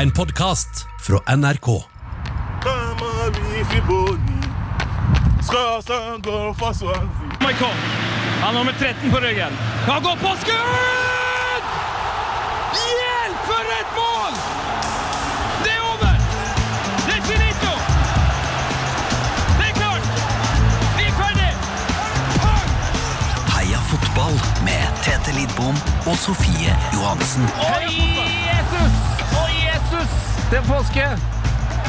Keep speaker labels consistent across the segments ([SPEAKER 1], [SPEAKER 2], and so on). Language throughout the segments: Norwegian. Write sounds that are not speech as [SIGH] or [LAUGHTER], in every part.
[SPEAKER 1] En podkast fra NRK.
[SPEAKER 2] Kama Vifiboni Skåsen går for Swansea
[SPEAKER 3] Michael. Han har nummer 13 på ryggen. Han går på skudd! Hjelp for et mål! Det er over! Det er finito! Det er klart! Vi er ferdig!
[SPEAKER 4] Heia fotball med Tete Lidbom og Sofie Johansen.
[SPEAKER 5] Det er påske!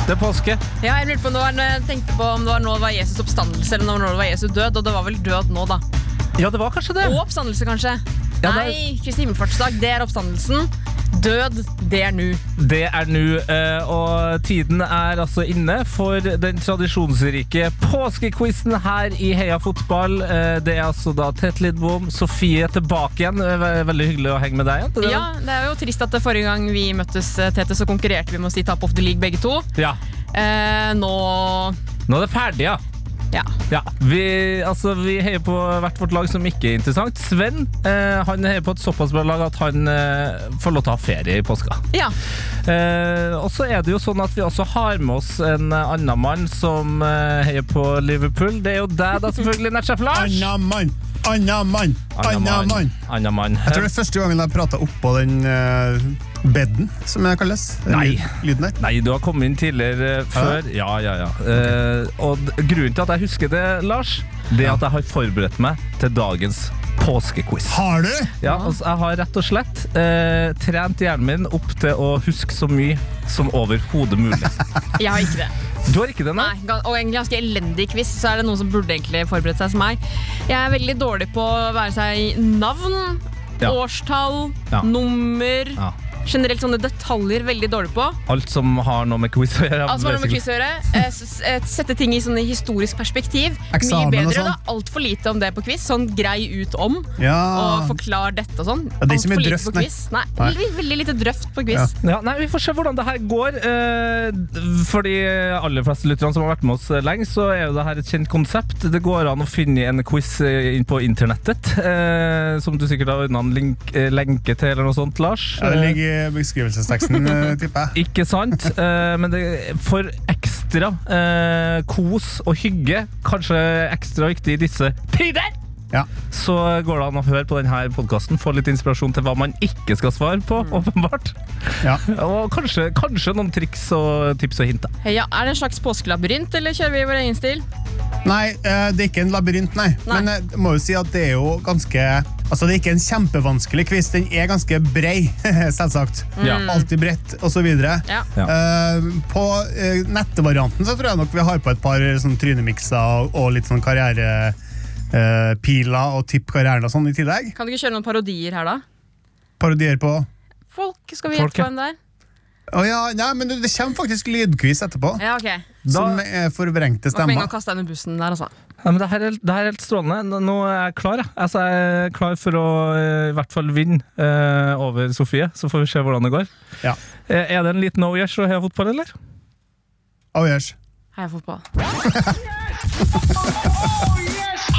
[SPEAKER 5] Det er påske.
[SPEAKER 6] Ja, jeg lurte på om det var, når jeg tenkte på om det var nå det var Jesus oppstandelse eller når det var Jesus død, og det var vel død nå, da.
[SPEAKER 5] Ja, det var kanskje det.
[SPEAKER 6] Og oppstandelse, kanskje.
[SPEAKER 5] Ja, det er-
[SPEAKER 6] Nei, Kristi himmelfartsdag, det er oppstandelsen. Død, det er nå.
[SPEAKER 5] Det er nå, eh, og tiden er altså inne for den tradisjonsrike påskequizen her i Heia fotball. Eh, Det er altså da Tete Lidbom, Sofie tilbake igjen. Eh, ve- Veldig hyggelig å henge med deg igjen. Det-
[SPEAKER 6] Ja, det er jo trist at det forrige gang vi møttes, eh, Tete, så konkurrerte vi med å si Top of the League begge to.
[SPEAKER 5] ja.
[SPEAKER 6] Eh, nå
[SPEAKER 5] Nå er det ferdig, ja.
[SPEAKER 6] Ja.
[SPEAKER 5] Ja, vi, altså, vi heier på hvert vårt lag som ikke er interessant. Sven eh, han heier på et såpass bra lag at han eh, får lov til å ha ferie i påska.
[SPEAKER 6] ja.
[SPEAKER 5] Eh, og så er det jo sånn at vi også har med oss en eh, annen mann som eh, heier på Liverpool. Det er jo deg, da, selvfølgelig, Nettsjef Lars.
[SPEAKER 7] Anna mann! Anna mann! Anna mann!
[SPEAKER 5] Anna mann.
[SPEAKER 7] Jeg tror det er første gangen jeg prata oppå den eh, bedden, som jeg kalles. Den
[SPEAKER 5] Nei.
[SPEAKER 7] lyd- Lyden der.
[SPEAKER 5] Eh, Nei, du har kommet inn tidligere eh, før. Ja, ja, ja. Eh, og d- grunnen til at jeg husker det, Lars, det er at jeg har forberedt meg til dagens påskequiz.
[SPEAKER 7] Har du?
[SPEAKER 5] Ja, altså, jeg har rett og slett eh, trent hjernen min opp til å huske så mye som overhodet mulig.
[SPEAKER 7] [LAUGHS]
[SPEAKER 6] Jeg har ikke det.
[SPEAKER 5] Du har ikke det, nei?
[SPEAKER 6] Nei, ga- og egentlig ganske elendig quiz, så er det noen som burde egentlig forberedt seg som meg. Jeg er veldig dårlig på å være seg navn,
[SPEAKER 5] Ja.
[SPEAKER 6] årstall,
[SPEAKER 5] Ja.
[SPEAKER 6] nummer
[SPEAKER 5] Ja.
[SPEAKER 6] Generelt sånne detaljer veldig dårlig på.
[SPEAKER 5] Alt som har noe med quiz å gjøre.
[SPEAKER 6] Altså, hva har det med
[SPEAKER 5] basically.
[SPEAKER 6] quiz å gjøre? Eh, s- eh, Sette ting i sånne historisk perspektiv.
[SPEAKER 7] Eksamen og
[SPEAKER 6] Mye bedre.
[SPEAKER 7] sånn.
[SPEAKER 6] Det er altfor lite om det på quiz. Sånn grei ut om,
[SPEAKER 7] Ja.
[SPEAKER 6] og forklar dette og sånn.
[SPEAKER 7] Ah. det er ikke
[SPEAKER 6] Altfor
[SPEAKER 7] mye
[SPEAKER 6] lite
[SPEAKER 7] drøft,
[SPEAKER 6] på
[SPEAKER 7] nei.
[SPEAKER 6] quiz. Nei,
[SPEAKER 7] Nei.
[SPEAKER 6] veldig, veldig lite drøft på quiz.
[SPEAKER 5] Ja, nei, Vi får se hvordan det her går. eh, For de aller fleste lytterne som har vært med oss eh, lenge, så er jo det her et kjent konsept. Det går an å finne en quiz eh, inn på internettet, eh, som du sikkert har ordna en link, eh, lenke til eller noe sånt, Lars.
[SPEAKER 7] Ja, det ligger i beskrivelsesteksten, eh, tipper jeg.
[SPEAKER 5] Ikke
[SPEAKER 7] [LAUGHS]
[SPEAKER 5] sant? Eh, men det, for ekstra eh, kos og hygge, kanskje ekstra viktig i disse tider,
[SPEAKER 7] Ja.
[SPEAKER 5] så går det an å høre på denne podkasten. Få litt inspirasjon til hva man ikke skal svare på,
[SPEAKER 7] Mm.
[SPEAKER 5] [LAUGHS] åpenbart.
[SPEAKER 7] ja.
[SPEAKER 5] Og kanskje, kanskje noen triks og tips og hint. da.
[SPEAKER 6] Ja, er det en slags påskelabyrint, eller kjører vi vår egen stil?
[SPEAKER 7] Nei, eh, det er ikke en labyrint, nei.
[SPEAKER 6] Nei.
[SPEAKER 7] Men jeg må jo si at det er jo ganske Altså, det er ikke en kjempevanskelig quiz. Den er ganske brei, [LAUGHS] selvsagt.
[SPEAKER 5] Ja.
[SPEAKER 7] Alltid bredt, osv.
[SPEAKER 6] Ja.
[SPEAKER 5] Ja.
[SPEAKER 7] Eh, på eh, nettvarianten så tror jeg nok vi har på et par sånn, trynemikser og, og litt sånn karrierepiler og tipp karrieren og sånn i tillegg.
[SPEAKER 6] Kan du ikke kjøre noen parodier her, da?
[SPEAKER 7] Parodier på Å
[SPEAKER 6] Folk, skal vi
[SPEAKER 5] Folk, ja.
[SPEAKER 6] gjette på hvem det er?
[SPEAKER 7] ja, nei, men det, det kommer faktisk lydquiz etterpå.
[SPEAKER 6] Ja, ok.
[SPEAKER 7] Som er forvrengte
[SPEAKER 6] Var ikke
[SPEAKER 7] stemmer.
[SPEAKER 6] meningen å kaste deg under bussen der, altså.
[SPEAKER 5] Nei, men det, her er, det her er helt strålende. Nå er jeg klar. Jeg, altså, jeg er klar for å eh, i hvert fall vinne eh, over Sofie, så får vi se hvordan det går.
[SPEAKER 7] Ja.
[SPEAKER 5] Eh, er det en liten no-yes og heia fotball, eller?
[SPEAKER 7] Oh, yes.
[SPEAKER 6] Heia fotball.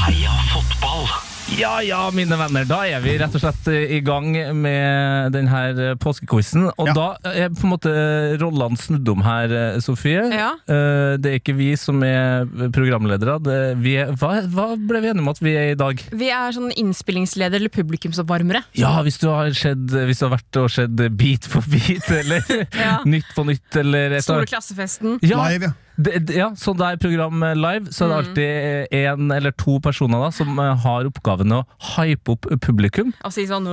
[SPEAKER 4] Heia fotball!
[SPEAKER 5] Ja, ja, mine venner. Da er vi rett og slett eh, i gang med denne påskequizen. Og
[SPEAKER 7] Ja.
[SPEAKER 5] da er på en måte rollene snudd om her, eh, Sofie.
[SPEAKER 6] Ja.
[SPEAKER 5] Eh, Det er ikke vi som er programledere. Det, vi er, hva, hva ble vi enige om at vi er i dag?
[SPEAKER 6] Vi er sånn innspillingsleder eller publikumsoppvarmere.
[SPEAKER 5] Ja, hvis du har, skjedd, hvis du har vært og sett Beat for beat, eller
[SPEAKER 6] [LAUGHS] Ja.
[SPEAKER 5] Nytt på nytt, eller et
[SPEAKER 6] Store klassefesten.
[SPEAKER 5] ja,
[SPEAKER 7] Live, ja.
[SPEAKER 5] det, det- ja, sånn det er program eh, live, så er det
[SPEAKER 6] Mm.
[SPEAKER 5] alltid én eller to personer da, som eh, har oppgaven å hype opp publikum.
[SPEAKER 6] Og si
[SPEAKER 7] [LAUGHS]
[SPEAKER 6] sånn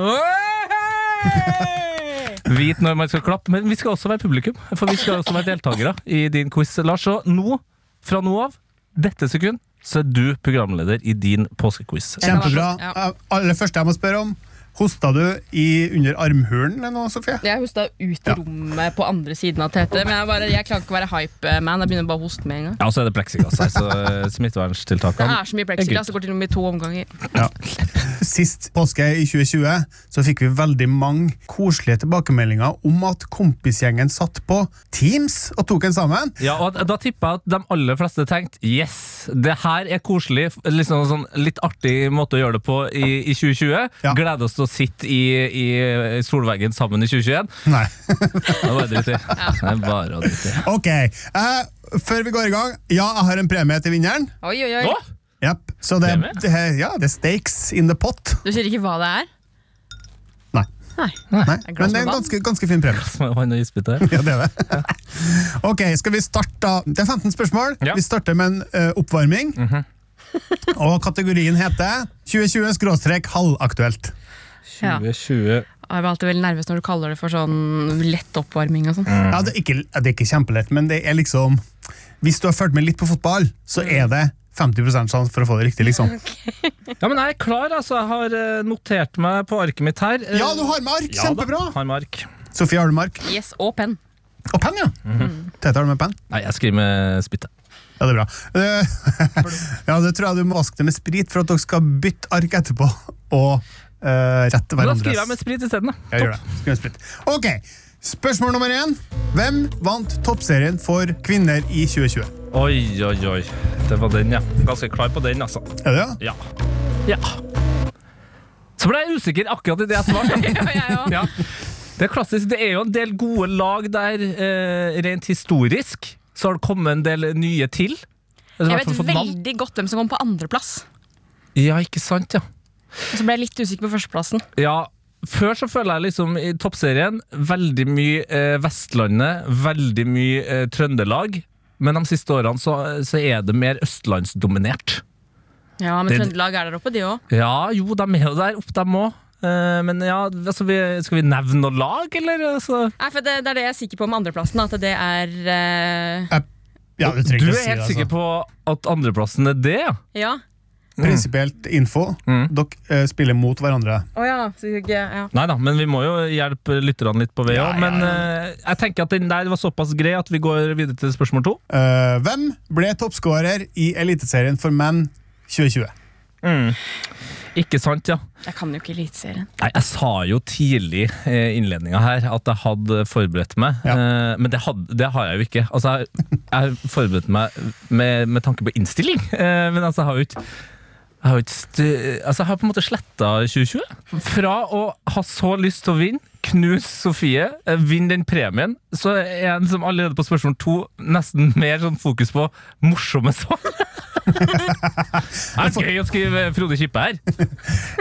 [SPEAKER 6] «Oi!»
[SPEAKER 5] Vit når man skal klappe, men vi skal også være publikum. For vi skal også være deltakere i din quiz, Lars. Så nå, fra nå av, dette sekund, så er du programleder i din påskequiz.
[SPEAKER 7] Kjempebra.
[SPEAKER 6] Ja.
[SPEAKER 7] Eh, Aller første jeg må spørre om, hosta du i, under armhulen eller noe,
[SPEAKER 6] [LAUGHS]
[SPEAKER 7] Sofie?
[SPEAKER 6] Jeg hosta ut i
[SPEAKER 7] Ja.
[SPEAKER 6] rommet på andre siden av Tete, men jeg, bare, jeg klarer ikke å være hype-man. Jeg begynner bare å hoste med en gang.
[SPEAKER 5] Ja, og så er det pleksiglass her, så eh,
[SPEAKER 6] Det
[SPEAKER 5] smitteverntiltakene
[SPEAKER 6] er så mye plexiglass, det går til og med i to omganger.
[SPEAKER 7] Sist påske i 2020 så fikk vi veldig mange koselige tilbakemeldinger om at kompisgjengen satt på Teams og tok en sammen.
[SPEAKER 5] Ja, og da tipper jeg at de aller fleste tenkte Yes, det her er koselig. Liksom sånn litt artig måte å gjøre det på i, i 2020.
[SPEAKER 7] Ja.
[SPEAKER 5] Gleder oss til å å sitte i, i solveggen sammen i 2021.
[SPEAKER 7] Nei. [LAUGHS]
[SPEAKER 5] Det er bare dritt i. Det er bare å drite i.
[SPEAKER 7] Ok. Eh, før vi går i gang, ja, jeg har en premie til vinneren.
[SPEAKER 6] Oi, oi, oi.
[SPEAKER 5] Nå?
[SPEAKER 7] Japp. Så det,
[SPEAKER 5] Premie?
[SPEAKER 7] det, ja, det er stakes in the pot.
[SPEAKER 6] Du sier ikke hva det er?
[SPEAKER 7] Nei.
[SPEAKER 6] Nei.
[SPEAKER 7] Nei.
[SPEAKER 6] Et glass
[SPEAKER 7] Men det er
[SPEAKER 6] med
[SPEAKER 7] en
[SPEAKER 6] vann?
[SPEAKER 7] ganske, ganske fin premie.
[SPEAKER 5] Som er vann og isbiter.
[SPEAKER 7] Ja, det er det. [LAUGHS] Ok, skal vi starte da? Det er 15 spørsmål.
[SPEAKER 5] Ja. Mhm.
[SPEAKER 7] Vi starter med en ø, oppvarming. Og kategorien heter 2020-halvaktuelt.
[SPEAKER 6] Ja.
[SPEAKER 5] 2020
[SPEAKER 6] Jeg blir alltid veldig nervøs når du kaller det for sånn lett oppvarming og sånn.
[SPEAKER 5] Mm.
[SPEAKER 7] Ja, det, er ikke, ja, det er ikke kjempelett, men det er liksom Hvis du har fulgt med litt på fotball, så er det 50 sjanse for å få det riktig,
[SPEAKER 5] Mm.
[SPEAKER 7] liksom.
[SPEAKER 5] Ja, men jeg er klar, altså. Jeg har eh, notert meg på arket mitt her. Eh,
[SPEAKER 7] Ja, du har med ark!
[SPEAKER 5] ja da,
[SPEAKER 7] Kjempebra!
[SPEAKER 5] Har med ark.
[SPEAKER 7] Sofie, har du med ark?
[SPEAKER 6] Yes, og penn.
[SPEAKER 7] Og penn, ja! Tete, har du med penn?
[SPEAKER 5] Nei, jeg skriver med spytte.
[SPEAKER 7] Ja, det er bra. Eh, [LAUGHS] ja, det tror jeg du må vaske det med sprit for at dere skal bytte ark etterpå [LAUGHS] og eh, rette
[SPEAKER 5] Men Da
[SPEAKER 7] hverandres.
[SPEAKER 5] skriver jeg med sprit isteden, da.
[SPEAKER 7] Jeg gjør det. Skal vi splitte. Ok, Spørsmål nummer én. Hvem vant toppserien for kvinner i 2020?
[SPEAKER 5] Oi, oi, oi. Det var den, ja. Ganske klar på den, altså.
[SPEAKER 7] Er det det?
[SPEAKER 5] Ja. Ja. Så ble jeg usikker akkurat i det jeg svarte.
[SPEAKER 6] [LAUGHS] Ja, jeg òg.
[SPEAKER 5] ja. Det er klassisk. Det er jo en del gode lag der, eh, rent historisk. Så har det kommet en del nye til. Eller i
[SPEAKER 6] Jeg
[SPEAKER 5] hvert fall
[SPEAKER 6] vet
[SPEAKER 5] fått navn.
[SPEAKER 6] veldig godt hvem som kom på andreplass.
[SPEAKER 5] Ja, ikke sant, ja.
[SPEAKER 6] Og så ble jeg litt usikker på førsteplassen.
[SPEAKER 5] Ja, før så føler jeg liksom i toppserien veldig mye eh, Vestlandet, veldig mye eh, Trøndelag. Men de siste årene så, eh, så er det mer østlandsdominert.
[SPEAKER 6] Ja, Men
[SPEAKER 5] Det-
[SPEAKER 6] Trøndelag er der oppe, de òg.
[SPEAKER 5] Ja, jo, de er jo der oppe, dem òg. Eh, men ja, altså, vi, skal vi nevne noe lag, eller? Altså,
[SPEAKER 6] Det, det er det jeg er sikker på med andreplassen. At det er eh,
[SPEAKER 7] Ja, du
[SPEAKER 5] du
[SPEAKER 7] trenger
[SPEAKER 5] er
[SPEAKER 7] ikke å si
[SPEAKER 5] helt
[SPEAKER 7] det.
[SPEAKER 5] sikker
[SPEAKER 7] Altså.
[SPEAKER 5] på Mm. at andreplassen er det, ja?
[SPEAKER 6] Ja.
[SPEAKER 7] Prinsipielt info.
[SPEAKER 5] Mm.
[SPEAKER 7] Dere eh, spiller mot hverandre.
[SPEAKER 6] Å ja. Så ikke, ja.
[SPEAKER 5] Nei da, men vi må jo hjelpe lytterne litt på vei
[SPEAKER 7] Ja, ja,
[SPEAKER 5] òg. Men eh, jeg tenker at den der var såpass grei at vi går videre til spørsmål to.
[SPEAKER 7] Eh, hvem ble toppskårer i Eliteserien for menn 2020?
[SPEAKER 5] Ikke sant, ja?
[SPEAKER 6] Jeg kan jo ikke Eliteserien.
[SPEAKER 5] Nei, Jeg sa jo tidlig eh, i innledninga her at jeg hadde forberedt meg, eh, men det, hadde, det har jeg jo ikke. Altså, jeg jeg har forberedt meg med, med tanke på innstilling, eh, men altså, jeg har jo ikke jeg har, jo ikke stu, altså jeg har på en måte sletta 2020. Fra å ha så lyst til å vinne, knuse Sofie, eh, vinne den premien, så er en som allerede på spørsmål to nesten mer sånn fokus på morsomme svar. [LAUGHS] det er gøy å skrive Frode Kippe her.
[SPEAKER 6] [LAUGHS]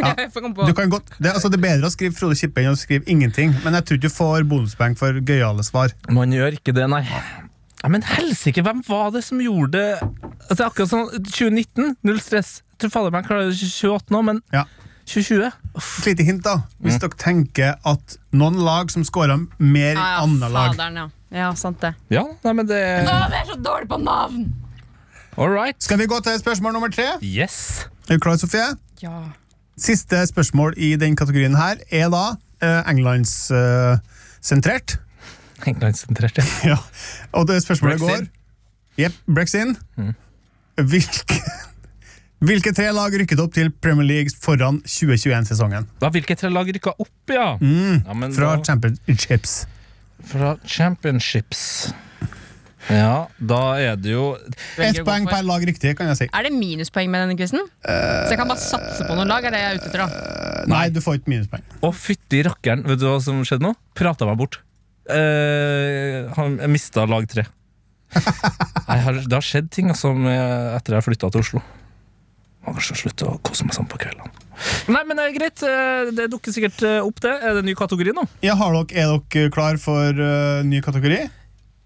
[SPEAKER 6] Jeg får komme
[SPEAKER 7] Du
[SPEAKER 6] på.
[SPEAKER 7] kan godt, det, altså, det er bedre å skrive Frode Kippe enn å skrive ingenting, men jeg tror ikke du får bonuspoeng for gøyale svar.
[SPEAKER 5] Man gjør ikke det, nei. Ja, men helsike, hvem var det som gjorde det? Altså, det er akkurat sånn 2019, null stress. Jeg tror fader meg jeg klarer 28 nå, men
[SPEAKER 7] Ja.
[SPEAKER 5] 2020?
[SPEAKER 7] Et lite hint, da. Hvis
[SPEAKER 5] Mm.
[SPEAKER 7] dere tenker at noen lag som scora mer enn
[SPEAKER 6] Ja,
[SPEAKER 7] andre lag
[SPEAKER 6] faderen, ja. ja, sant det.
[SPEAKER 5] Ja, nei, men det
[SPEAKER 6] Å, vi er så dårlige på navn!
[SPEAKER 5] All right.
[SPEAKER 7] Skal vi gå til spørsmål nummer tre?
[SPEAKER 5] Yes.
[SPEAKER 7] Er du klar, Sofie?
[SPEAKER 6] Ja.
[SPEAKER 7] Siste spørsmål i den kategorien her er da eh, Englands-sentrert.
[SPEAKER 5] Englandssentrert, ja.
[SPEAKER 7] [LAUGHS] ja. Og det spørsmålet
[SPEAKER 5] Brexit. Mm.
[SPEAKER 7] går Jepp, Brexit. Hvilke, hvilke tre lag rykket opp til Premier League foran 2021-sesongen?
[SPEAKER 5] Da Hvilke tre lag rykka opp, ja? ja men
[SPEAKER 7] Mm. Fra
[SPEAKER 5] da,
[SPEAKER 7] championships.
[SPEAKER 5] fra Championships. Ja, da er det jo
[SPEAKER 7] Ett poeng per lag riktig, kan jeg si.
[SPEAKER 6] Er det minuspoeng med denne quizen? så jeg kan bare satse på noen lag? er det jeg er ute etter da
[SPEAKER 7] Eh, Nei, du får ikke minuspoeng.
[SPEAKER 5] Å, fytti rakkeren, vet du hva som skjedde nå? Prata meg bort. Eh, han jeg mista lag tre. Nei, har, det har skjedd ting altså, med, etter jeg flytta til Oslo. Må kanskje slutte å kose meg sånn på kveldene. Nei, men det er greit. eh, Det dukker sikkert eh, opp, det. Er det en ny kategori nå?
[SPEAKER 7] Ja, har dere, er dere klar for eh, ny kategori?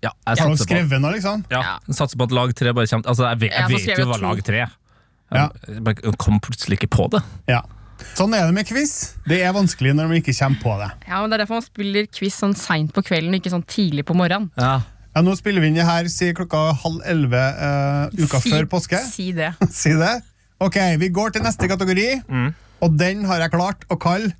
[SPEAKER 5] Ja, jeg
[SPEAKER 7] Har dere
[SPEAKER 5] satser på,
[SPEAKER 7] skrevet noe, liksom?
[SPEAKER 5] ja, jeg satser på at lag tre bare kommer Altså, jeg vet,
[SPEAKER 6] Ja, for
[SPEAKER 5] jeg
[SPEAKER 6] skrev
[SPEAKER 5] vet jo
[SPEAKER 6] jeg
[SPEAKER 5] hva
[SPEAKER 6] to.
[SPEAKER 5] lag tre er.
[SPEAKER 7] Ja.
[SPEAKER 5] Jeg bare kom plutselig ikke på det.
[SPEAKER 7] Ja. Sånn er det med quiz. Det er vanskelig når man ikke kommer på det.
[SPEAKER 6] Ja, men Det er derfor man spiller quiz sånn seint på kvelden, ikke sånn tidlig på morgenen.
[SPEAKER 5] Ja.
[SPEAKER 7] Ja, Nå spiller vi inn det her sier klokka halv elleve eh, uka
[SPEAKER 6] Si-
[SPEAKER 7] før påske.
[SPEAKER 6] Si det.
[SPEAKER 7] Si det. Ok, vi går til neste kategori, og den har jeg klart å kalle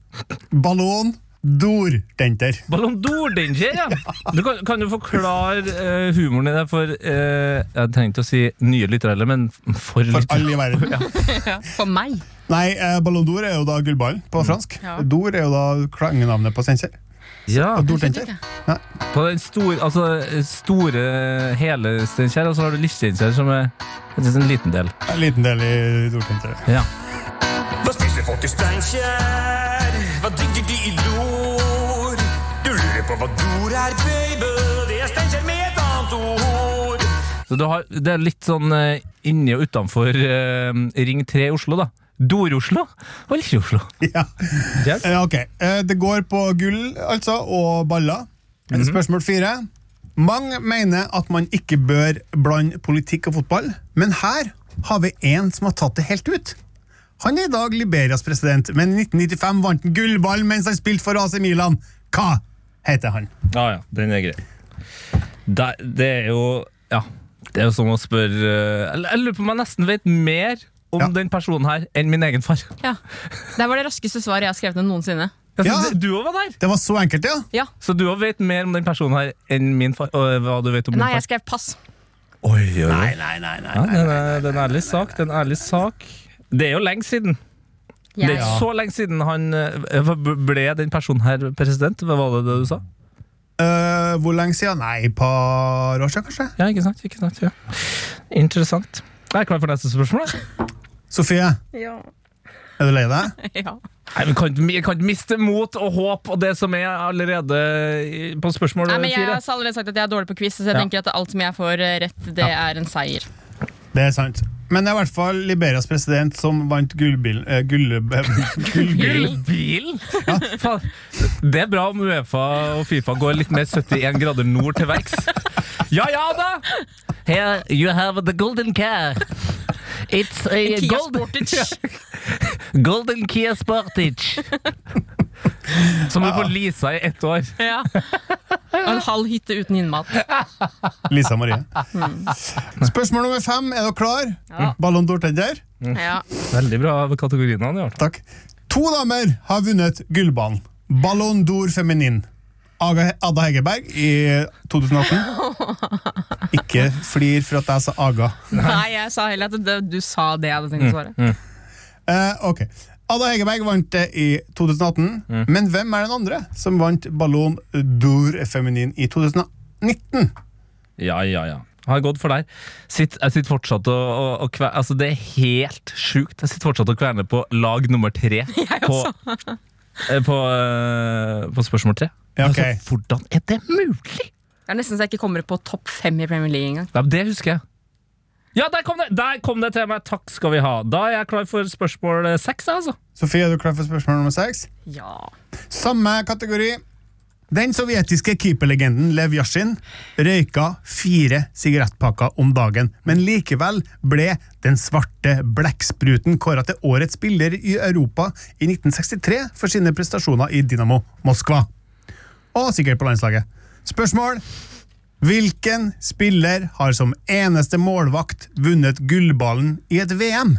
[SPEAKER 7] ballon dordenter.
[SPEAKER 5] Ballon d'Or, den skjer, ja! Du kan, kan du forklare eh, humoren i det for eh, Jeg tenkte å si nye lyttere, heller, men for,
[SPEAKER 7] For
[SPEAKER 5] lyttere.
[SPEAKER 7] alle i verden.
[SPEAKER 6] For meg.
[SPEAKER 7] Nei, eh, ballon d'or er jo da gullballen på fransk.
[SPEAKER 6] Ja.
[SPEAKER 7] Dor er jo da klangenavnet på Steinkjer.
[SPEAKER 5] Ja,
[SPEAKER 7] Dordenter.
[SPEAKER 5] på den store, altså, store hele Steinkjer, og så har du Liv-Steinkjer, som er en sånn liten del.
[SPEAKER 7] En liten del i dordenter.
[SPEAKER 5] Ja.
[SPEAKER 8] Hva spiser folk i Steinkjer? Hva Hvor er baby? Det stenger med et annet ord.
[SPEAKER 5] Så du har, det er litt sånn eh, inni og utenfor eh, Ring 3 i Oslo, da. Dor-Oslo og Lille-Oslo.
[SPEAKER 7] Ja.
[SPEAKER 5] Yes.
[SPEAKER 7] Eh, Ok, Eh, Det går på gull, altså, og baller. Eh, Spørsmål fire. Mange mener at man ikke bør blande politikk og fotball, men her har vi en som har tatt det helt ut. Han er i dag Liberias president, men i 1995 vant han gullballen mens han spilte for AC Milan. Hva heter han?
[SPEAKER 5] Ja, ja, den er grei. Det, det er jo Ja. Det er jo som å spørre eh, eller Jeg lurer på om jeg nesten vet mer om
[SPEAKER 7] Ja.
[SPEAKER 5] den personen her enn min egen far.
[SPEAKER 6] Ja. Det var det raskeste svaret jeg har skrevet ned noensinne.
[SPEAKER 5] Ja, så
[SPEAKER 7] Ja.
[SPEAKER 5] det- Du òg var der!
[SPEAKER 7] Det var så enkelt, ja.
[SPEAKER 6] Ja.
[SPEAKER 5] Så du òg vet mer om den personen her enn min far. Og eh, hva du vet om min
[SPEAKER 6] Nei,
[SPEAKER 5] far.
[SPEAKER 6] jeg skrev pass.
[SPEAKER 5] Oi, oi, oi. Nei, nei, nei, nei, ja, den, er, den er ærlig sak. Den er ærlig sak. Det er jo lenge siden. Det er
[SPEAKER 6] Jeg, [LAUGHS]
[SPEAKER 5] ikke så lenge siden han eh, ble den personen her president. Hva var det, det du sa?
[SPEAKER 7] Eh, hvor lenge siden? Nei, et par år siden, kanskje?
[SPEAKER 5] Ja, ikke sant? Ikke sant ja. Interessant. Jeg er klar for neste spørsmål. jeg.
[SPEAKER 7] Sofie,
[SPEAKER 6] ja.
[SPEAKER 7] er du lei deg?
[SPEAKER 6] ja.
[SPEAKER 5] Nei, Vi kan, ikke- vi kan ikke miste mot og håp og det som er allerede i- på spørsmål
[SPEAKER 6] Nei, men Jeg
[SPEAKER 5] fire.
[SPEAKER 6] har allerede sagt at jeg er dårlig på quiz, så jeg
[SPEAKER 5] Ja.
[SPEAKER 6] tenker at alt som jeg får eh, rett, det er en seier.
[SPEAKER 7] Det er sant. Men det er i hvert fall Liberias president som vant gullbil... eh, [LAUGHS] gull... gullbil.
[SPEAKER 5] Gullbil? Ja, faen. det er bra om Uefa og Fifa går litt mer 71 grader nord til verks. Ja ja da! Here you have the golden car. It's a
[SPEAKER 6] Kia
[SPEAKER 7] [LAUGHS]
[SPEAKER 5] gold-
[SPEAKER 6] Sportage.
[SPEAKER 5] golden Kia Sportage. Som du får leasa i ett år.
[SPEAKER 6] Ja. Og en halv hytte uten innmat.
[SPEAKER 7] Lisa Marie. Spørsmål nummer fem. Er dere klar? Mm.
[SPEAKER 6] Ja.
[SPEAKER 7] Ballon d'Or-tender?
[SPEAKER 6] Ja.
[SPEAKER 5] Veldig bra kategorien han gjør.
[SPEAKER 7] Takk. To damer har vunnet gullballen. Ballon d'Or feminin. Aga, Ada Hegerberg i 2018. Ikke flir for at jeg sa Aga.
[SPEAKER 6] Nei, jeg sa heller at det, du sa det jeg hadde
[SPEAKER 5] Mm,
[SPEAKER 6] tenkt å [LAUGHS] svare.
[SPEAKER 7] Eh, ok. Ada Hegerberg vant det i 2018, men hvem er den andre som vant Ballon d'Or feminin i 2019?
[SPEAKER 5] Ja, ja, ja. Har gått for deg. Sitt, jeg sitter fortsatt og, og, og kve, Altså, det er helt sjukt. Jeg sitter fortsatt og kverner på lag nummer tre. På, eh, på, eh, på spørsmål tre.
[SPEAKER 7] Ja, ok.
[SPEAKER 5] Altså, hvordan er det mulig?!
[SPEAKER 6] Det er nesten så jeg ikke kommer på topp fem i Premier League engang.
[SPEAKER 5] Ja, men det husker jeg. Ja, der kom det! Der kom det til meg! Takk skal vi ha. Da er jeg klar for spørsmål eh, seks, jeg, altså.
[SPEAKER 7] Sofie, er du klar for spørsmål nummer seks?
[SPEAKER 6] Ja.
[SPEAKER 7] Samme kategori. Den sovjetiske keeperlegenden Lev Yashin røyka fire sigarettpakker om dagen, men likevel ble den svarte blekkspruten kåra til årets spiller i Europa i 1963 for sine prestasjoner i Dynamo Moskva. Og sikkert på landslaget. Spørsmål Hvilken spiller har som eneste målvakt vunnet gullballen i et VM?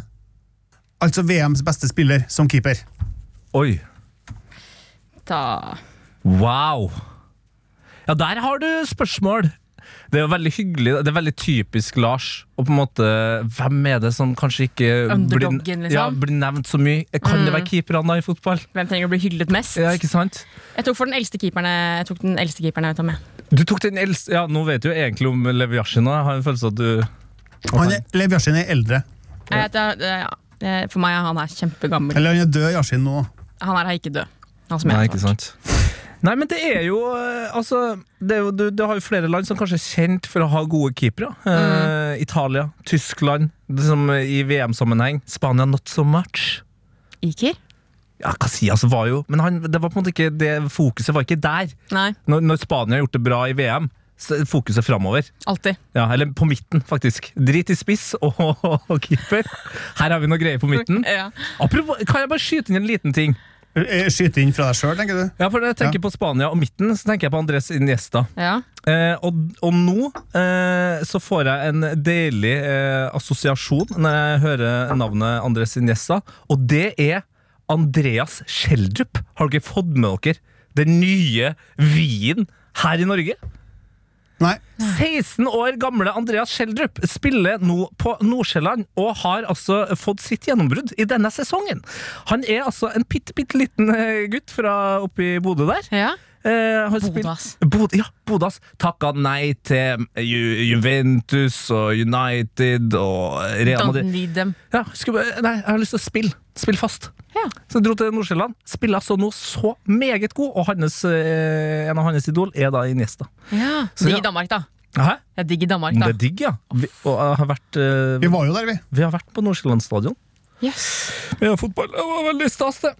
[SPEAKER 7] Altså VMs beste spiller som keeper.
[SPEAKER 5] Oi.
[SPEAKER 6] Da
[SPEAKER 5] Wow. Ja, der har du spørsmål. Det er jo veldig hyggelig, det er veldig typisk Lars. Og på en måte, Hvem er det som kanskje ikke blir,
[SPEAKER 6] Underdoggen, liksom. Mm.
[SPEAKER 5] ja, blir nevnt så mye? Kan det være keeperne da i fotball?
[SPEAKER 6] Hvem trenger å bli hyllet mest?
[SPEAKER 5] Ja, ikke sant?
[SPEAKER 6] Jeg tok for den eldste keeperen jeg- jeg tok den eldste keeperen jeg vet om. Jeg.
[SPEAKER 5] Du tok den eldste Ja, Nå vet du jo egentlig om Leviasjin. Jeg har en følelse av at du
[SPEAKER 7] Han er, Lev Yashin er eldre.
[SPEAKER 6] Jeg vet, jeg- jeg- jeg- For meg er han her kjempegammel.
[SPEAKER 7] Eller han er død, Yashin, nå.
[SPEAKER 6] Han her er ikke død. Han som jeg
[SPEAKER 5] Nei,
[SPEAKER 6] har
[SPEAKER 5] ikke
[SPEAKER 6] valgt.
[SPEAKER 5] sant? Nei, men det er jo eh, Altså, det er jo, du, du har jo flere land som kanskje er kjent for å ha gode keepere.
[SPEAKER 6] Mm.
[SPEAKER 5] Eh, Italia, Tyskland, det som i VM-sammenheng. Spania not so much.
[SPEAKER 6] Iker?
[SPEAKER 5] Ja, Casillas var jo Men han, det var på en måte ikke det fokuset var ikke der.
[SPEAKER 6] Nei,
[SPEAKER 5] Når, når Spania har gjort det bra i VM, så er fokuset framover.
[SPEAKER 6] alltid.
[SPEAKER 5] Ja, eller på midten, faktisk. Drit i spiss [LAUGHS] og, og, keeper. Her har vi noe greier på midten.
[SPEAKER 6] Ja.
[SPEAKER 5] Apropos, kan jeg bare skyte inn en liten ting?
[SPEAKER 7] Eh, Skyte inn fra deg sjøl, tenker du?
[SPEAKER 5] Ja, for Når jeg tenker på Spania og midten, så tenker jeg på Andres Iniesta.
[SPEAKER 6] Ja.
[SPEAKER 5] Eh, og, og nå eh, så får jeg en deilig eh, assosiasjon når jeg hører navnet Andres Iniesta, og det er Andreas Schjelderup. Har dere fått med dere den nye Wien her i Norge?
[SPEAKER 7] Nei.
[SPEAKER 5] 16 år gamle Andreas Schjelderup spiller nå på Nordsjælland og har altså fått sitt gjennombrudd i denne sesongen. Han er altså en bitte, bitte liten eh, gutt fra oppe i Bodø der.
[SPEAKER 6] ja.
[SPEAKER 5] Eh, har
[SPEAKER 6] Bodas.
[SPEAKER 5] spilt- Bod, ja, Bodas. Takka nei til Ju, Juventus og United og Real
[SPEAKER 6] Don't
[SPEAKER 5] Madrid.
[SPEAKER 6] need them.
[SPEAKER 5] Ja, skulle, bare- nei, jeg har lyst til å spille. Spille fast.
[SPEAKER 6] Ja.
[SPEAKER 5] Så jeg dro til Nordsjælland. Spiller altså nå så meget god, og hans, eh, en av hans idol er da Iniesta.
[SPEAKER 6] ja.
[SPEAKER 5] Så ja.
[SPEAKER 6] Digg i Danmark, da.
[SPEAKER 5] Hæ?
[SPEAKER 6] Det er digg i Danmark,
[SPEAKER 5] Det
[SPEAKER 6] da.
[SPEAKER 5] er digg, ja. Vi, og jeg har vært, eh,
[SPEAKER 7] Vi var jo der, vi.
[SPEAKER 5] vi har vært på Nordsjælland stadion.
[SPEAKER 6] Yes.
[SPEAKER 5] Med fotball. Det var veldig stas, det.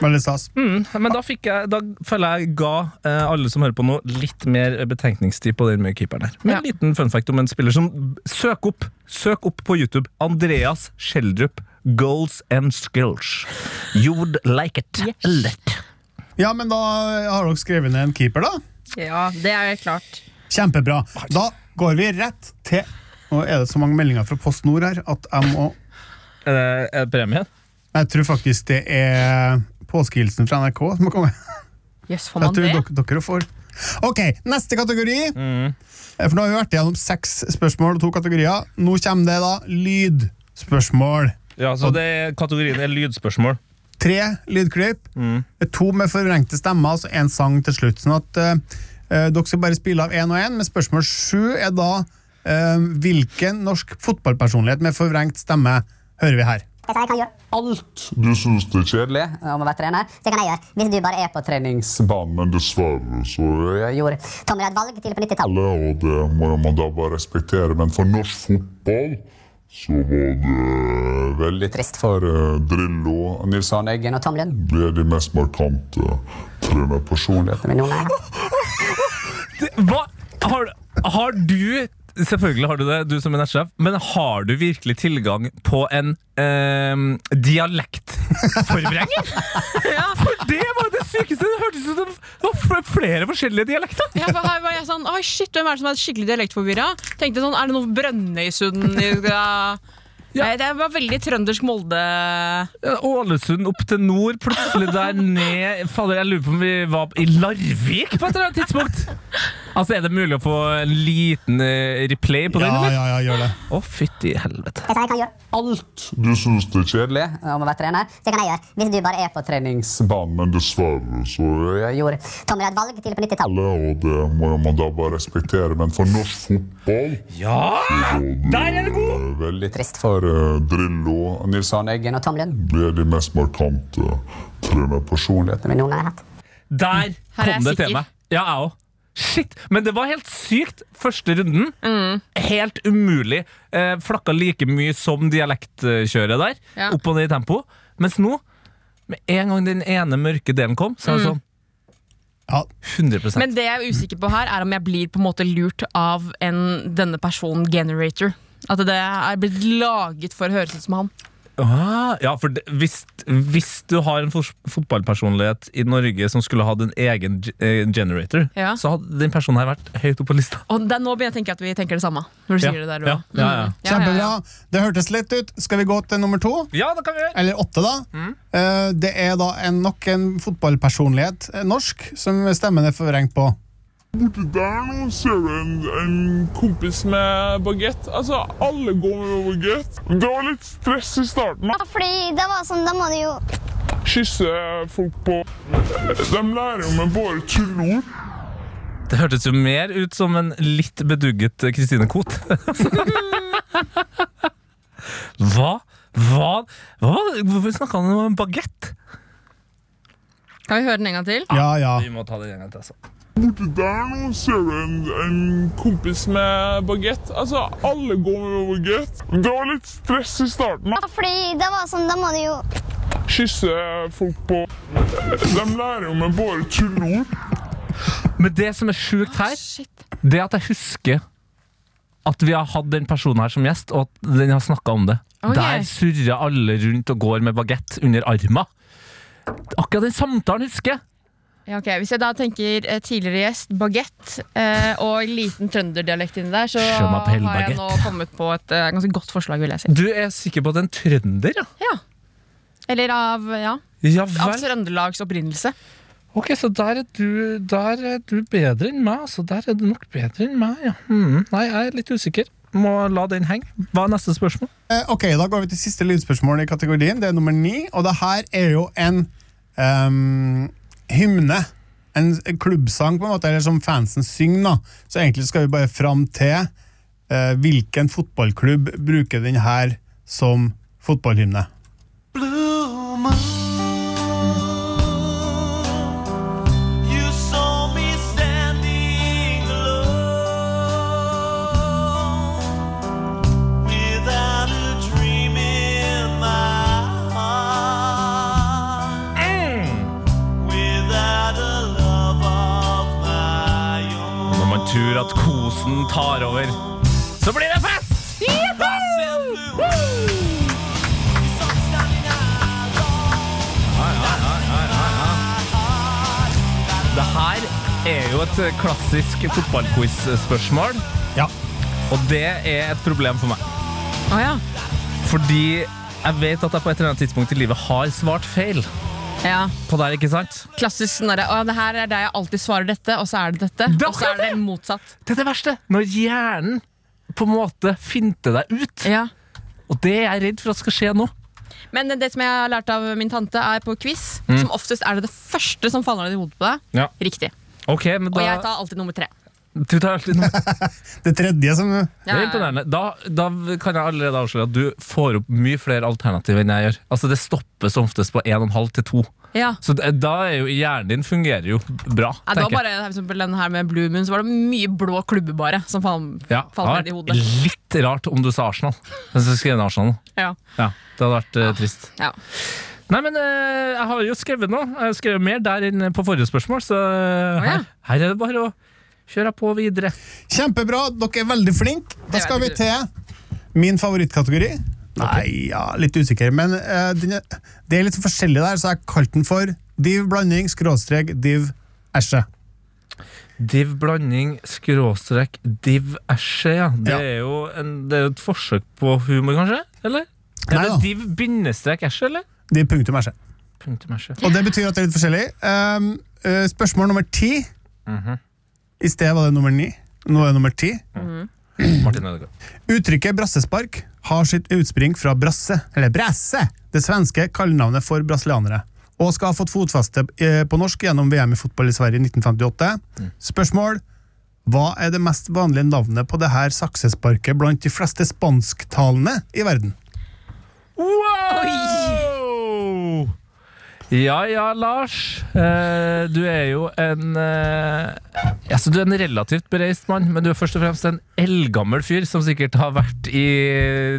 [SPEAKER 7] Veldig stas.
[SPEAKER 5] Men da, fikk jeg, da føler jeg ga eh, alle som hører på nå, litt mer betenkningstid på den med keeperen her. Men en
[SPEAKER 6] Ja.
[SPEAKER 5] liten fun fact om en spiller som Søk opp søk opp på YouTube. Andreas Schjelderup. Goals and skills. You'd like it. Let.
[SPEAKER 7] Ja, men da har dere skrevet ned en keeper, da.
[SPEAKER 6] Ja, det er klart.
[SPEAKER 7] Kjempebra. Da går vi rett til Nå er det så mange meldinger fra Post Nord her at jeg må
[SPEAKER 5] Er det, er det premien?
[SPEAKER 7] Jeg tror faktisk det er påskehilsen fra NRK som har kommet.
[SPEAKER 6] Jøss,
[SPEAKER 7] Jeg
[SPEAKER 6] får man
[SPEAKER 7] tror
[SPEAKER 6] det?
[SPEAKER 7] dere, dere får. Ok, neste kategori. Eh, For nå har vi vært gjennom seks spørsmål og to kategorier. Nå kommer det da lydspørsmål.
[SPEAKER 5] Ja, så det, Kategorien er lydspørsmål.
[SPEAKER 7] Tre lydklipp. eh, To med forvrengte stemmer, altså én sang til slutt. Sånn at eh, eh, dere skal bare spille av én og én, men spørsmål sju er da eh, hvilken norsk fotballpersonlighet med forvrengt stemme hører vi her?
[SPEAKER 9] sånn Jeg sa jeg kan gjøre
[SPEAKER 10] alt du syns det er kjedelig,
[SPEAKER 9] om å være trener, så kan jeg gjøre. Hvis du bare er på trening.
[SPEAKER 10] treningsbanen. Men dessverre så er jeg
[SPEAKER 9] Gjorde Tommy et valg tidlig på 90-tallet.
[SPEAKER 10] alle, og det må man da bare respektere. Men for norsk fotball så var det veldig trist for eh, Drillo og Nils Arne Eggen.
[SPEAKER 9] Og Tom Lund.
[SPEAKER 10] Ble de mest markante trenerpersonlighetene.
[SPEAKER 9] Men noen er
[SPEAKER 5] Hva? Har, har du Selvfølgelig har du det, du som er nettsjef, men har du virkelig tilgang på en ehm, dialektforvrenger?
[SPEAKER 6] Ja,
[SPEAKER 5] For det var det sykeste! Det hørtes ut som det var fl- flere forskjellige dialekter.
[SPEAKER 6] Ja, for her var jeg sånn Oi, shit, hvem er det som er skikkelig dialektforvirra? Tenkte sånn, er det noe Brønnøysund
[SPEAKER 5] [LAUGHS]
[SPEAKER 6] i ja. Nei, Det var veldig trøndersk Molde.
[SPEAKER 5] Ja, Ålesund opp til nord, plutselig der ned Fader, jeg lurer på om vi var i Larvik på et eller annet tidspunkt! Altså, Er det mulig å få en liten eh, replay på den?
[SPEAKER 7] Ja,
[SPEAKER 5] eller?
[SPEAKER 7] ja, ja, gjør det.
[SPEAKER 5] Å, fytti helvete.
[SPEAKER 9] Jeg sa sånn jeg kan gjøre
[SPEAKER 10] Alt du syns det er kjedelig,
[SPEAKER 9] om å være trener, så kan jeg gjøre. Hvis du bare er på trening.
[SPEAKER 10] treningsbanen. Men dessverre så er jeg
[SPEAKER 9] Gjorde Tommy et valg tidlig på 90-tallet.
[SPEAKER 10] alle, og det må man da bare respektere. Men for norsk fotball
[SPEAKER 5] Ja! Der er det god!
[SPEAKER 10] eh, veldig trist for eh, Drillo og Nils Arne Eggen.
[SPEAKER 9] Og Tom Lund.
[SPEAKER 10] ble de mest markante trenerpersonlighetene.
[SPEAKER 9] Men noen har jeg hatt.
[SPEAKER 5] Der
[SPEAKER 6] Her er
[SPEAKER 5] kom
[SPEAKER 6] jeg
[SPEAKER 5] det til
[SPEAKER 6] sikker.
[SPEAKER 5] meg. Ja, jeg òg. Shit, Men det var helt sykt. Første runden,
[SPEAKER 6] Mm.
[SPEAKER 5] helt umulig. Eh, flakka like mye som dialektkjøret der.
[SPEAKER 6] Ja.
[SPEAKER 5] Opp og ned i tempo. Mens nå, med en gang den ene mørke delen kom, så er det
[SPEAKER 7] Ja,
[SPEAKER 5] sånn 100
[SPEAKER 6] Mm. Men det jeg er usikker på her, er om jeg blir på en måte lurt av en, denne personen generator. At det er blitt laget for å høres ut som han.
[SPEAKER 5] ah, Ja, for det, hvis, hvis du har en fors- fotballpersonlighet i Norge som skulle hatt en egen ge- eh, generator,
[SPEAKER 6] Ja.
[SPEAKER 5] så hadde den personen her vært høyt oppe på lista.
[SPEAKER 6] Og det er nå begynner jeg å tenke at vi tenker det samme. Når du sier det der,
[SPEAKER 5] ja,
[SPEAKER 6] Roa.
[SPEAKER 5] ja, ja.
[SPEAKER 6] Ja, ja,
[SPEAKER 7] Kjempebra.
[SPEAKER 6] ja.
[SPEAKER 7] Det hørtes lett ut. Skal vi gå til nummer to?
[SPEAKER 5] ja, det kan vi gjøre!
[SPEAKER 7] Eller åtte, da. Eh, Det er da en, nok en fotballpersonlighet, eh, norsk, som stemmen er forvrengt på.
[SPEAKER 2] Borti der nå ser du en, en kompis med bagett. Altså, alle går med bagett. Det var litt stress i starten. da.
[SPEAKER 9] Fordi det var sånn, da må du jo
[SPEAKER 2] Kysse folk på De lærer jo med bare tulleord.
[SPEAKER 5] Det hørtes jo mer ut som en litt bedugget eh, Christine Koht. hva? Hva? hva? Hvorfor snakka han om en bagett?
[SPEAKER 6] Kan vi høre den en gang til?
[SPEAKER 7] Ja, ja.
[SPEAKER 5] må ta det en gang til, altså.
[SPEAKER 2] Borti der nå ser du en, en kompis med bagett. Altså, alle går med bagett. Det var litt stress i starten. da.
[SPEAKER 9] Fordi det var sånn, da må du jo
[SPEAKER 2] Kysse folk på De lærer jo med bare tulleord.
[SPEAKER 5] Men det som er sjukt her,
[SPEAKER 6] Shit.
[SPEAKER 5] det er at jeg husker at vi har hatt den personen her som gjest, og at den har snakka om det.
[SPEAKER 6] Ok.
[SPEAKER 5] Der surrer alle rundt og går med bagett under arma. Akkurat den samtalen husker jeg.
[SPEAKER 6] Ja, ok. Hvis jeg da tenker eh, tidligere gjest, bagett eh, og liten trønderdialekt inni der, så
[SPEAKER 5] Je m'appelle
[SPEAKER 6] har jeg nå
[SPEAKER 5] Baguette.
[SPEAKER 6] kommet på et eh, ganske godt forslag, vil jeg si.
[SPEAKER 5] Du er sikker på at det er en trønder, ja?
[SPEAKER 6] Ja. Eller av, ja,
[SPEAKER 5] Ja
[SPEAKER 6] av
[SPEAKER 5] vel.
[SPEAKER 6] Trøndelags opprinnelse.
[SPEAKER 5] Ok, så der er du, der er du bedre enn meg, altså. Der er du nok bedre enn meg, ja. Hmm, Nei, jeg er litt usikker. Må la den henge. Hva er neste spørsmål?
[SPEAKER 7] Eh, Ok, Da går vi til siste lydspørsmål i kategorien. Det er nummer ni. Og det her er jo en ehm, hymne. en klubbsang, på en måte, eller som fansen synger. da. Så egentlig skal vi bare fram til eh, hvilken fotballklubb bruker den her som fotballhymne.
[SPEAKER 8] You saw me standing alone without a dream in my heart, without a love of my own.
[SPEAKER 5] Når man tror at kosen tar over, så blir det fest! Det her er jo et klassisk fotballquiz-spørsmål,
[SPEAKER 7] Ja.
[SPEAKER 5] og det er et problem for meg.
[SPEAKER 6] Å ja.
[SPEAKER 5] Fordi jeg vet at jeg på et eller annet tidspunkt i livet har svart feil
[SPEAKER 6] ja.
[SPEAKER 5] på der, ikke sant?
[SPEAKER 6] Klassisk sånn derre Å, det her er der jeg alltid svarer dette, og så er det dette.
[SPEAKER 5] er
[SPEAKER 6] Og så er det
[SPEAKER 5] det!
[SPEAKER 6] motsatt.
[SPEAKER 5] Det er det verste! Når hjernen på en måte finter deg ut.
[SPEAKER 6] Ja.
[SPEAKER 5] Og det er jeg redd for at skal skje nå.
[SPEAKER 6] Men det som jeg har lært av min tante, er på quiz, som oftest er det det første som faller ned i hodet på deg.
[SPEAKER 5] Mm. Ja.
[SPEAKER 6] Riktig.
[SPEAKER 5] Ok, men
[SPEAKER 6] Og
[SPEAKER 5] da
[SPEAKER 6] jeg tar alltid nummer tre.
[SPEAKER 5] Du tar alltid
[SPEAKER 6] [LAUGHS]
[SPEAKER 5] noe.
[SPEAKER 7] Det tredje som
[SPEAKER 5] Det er imponerende. Da, da kan jeg allerede avsløre at du får opp mye flere alternativ enn jeg gjør. Altså Det stopper som oftest på 1,5 til 2.
[SPEAKER 6] Ja.
[SPEAKER 5] Så det- da er jo hjernen din fungerer jo bra.
[SPEAKER 6] Ja, det var
[SPEAKER 5] tenker jeg.
[SPEAKER 6] bare for eksempel, den her med Blue Moon, så var det mye blå klubber bare som fal-
[SPEAKER 5] ja,
[SPEAKER 6] falt
[SPEAKER 5] det hadde
[SPEAKER 6] ned i
[SPEAKER 5] vært
[SPEAKER 6] hodet.
[SPEAKER 5] litt rart om du sa Arsenal. Hvis du skrev ned Arsenal nå.
[SPEAKER 6] Ja.
[SPEAKER 5] Ja, det hadde vært eh, trist.
[SPEAKER 6] Ja.
[SPEAKER 5] Nei, men eh, jeg har jo skrevet noe. Jeg har skrevet mer der enn på forrige spørsmål, så eh,
[SPEAKER 6] Å, ja.
[SPEAKER 5] her, her er det bare å kjøre på videre.
[SPEAKER 7] Kjempebra, dere er veldig flinke. Da
[SPEAKER 6] Det
[SPEAKER 7] skal vi
[SPEAKER 6] vet
[SPEAKER 7] til min favorittkategori. Nei, ja, litt usikker, men eh, den er, det er litt forskjellig der, så jeg kalte den for div blanding, skråstrek, div æsje.
[SPEAKER 5] Div blanding skråstrek div æsje, ja. Det,
[SPEAKER 7] Ja.
[SPEAKER 5] Er jo en, det er jo et forsøk på humor, kanskje? Eller? Er
[SPEAKER 7] Nei
[SPEAKER 5] det
[SPEAKER 7] da.
[SPEAKER 5] div bindestrek æsje, eller?
[SPEAKER 7] Div punktum æsje.
[SPEAKER 5] Punktum æsje.
[SPEAKER 7] Og det betyr at det er litt forskjellig. Um, eh, spørsmål nummer ti. Mhm. I sted var det nummer ni. Nå er det nummer ti.
[SPEAKER 5] Martin Ødegaard.
[SPEAKER 7] Uttrykket brassespark har sitt utspring fra brasse, eller brasse, det svenske kallenavnet for brasilianere, og skal ha fått fotfeste eh, på norsk gjennom VM i fotball i Sverige i
[SPEAKER 5] Mm.
[SPEAKER 7] 1958. Spørsmål Hva er det mest vanlige navnet på det her saksesparket blant de fleste spansktalende i verden?
[SPEAKER 5] Wow! Ja ja, Lars. Eh, du er jo en eh, altså, Du er en relativt bereist mann, men du er først og fremst en eldgammel fyr som sikkert har vært i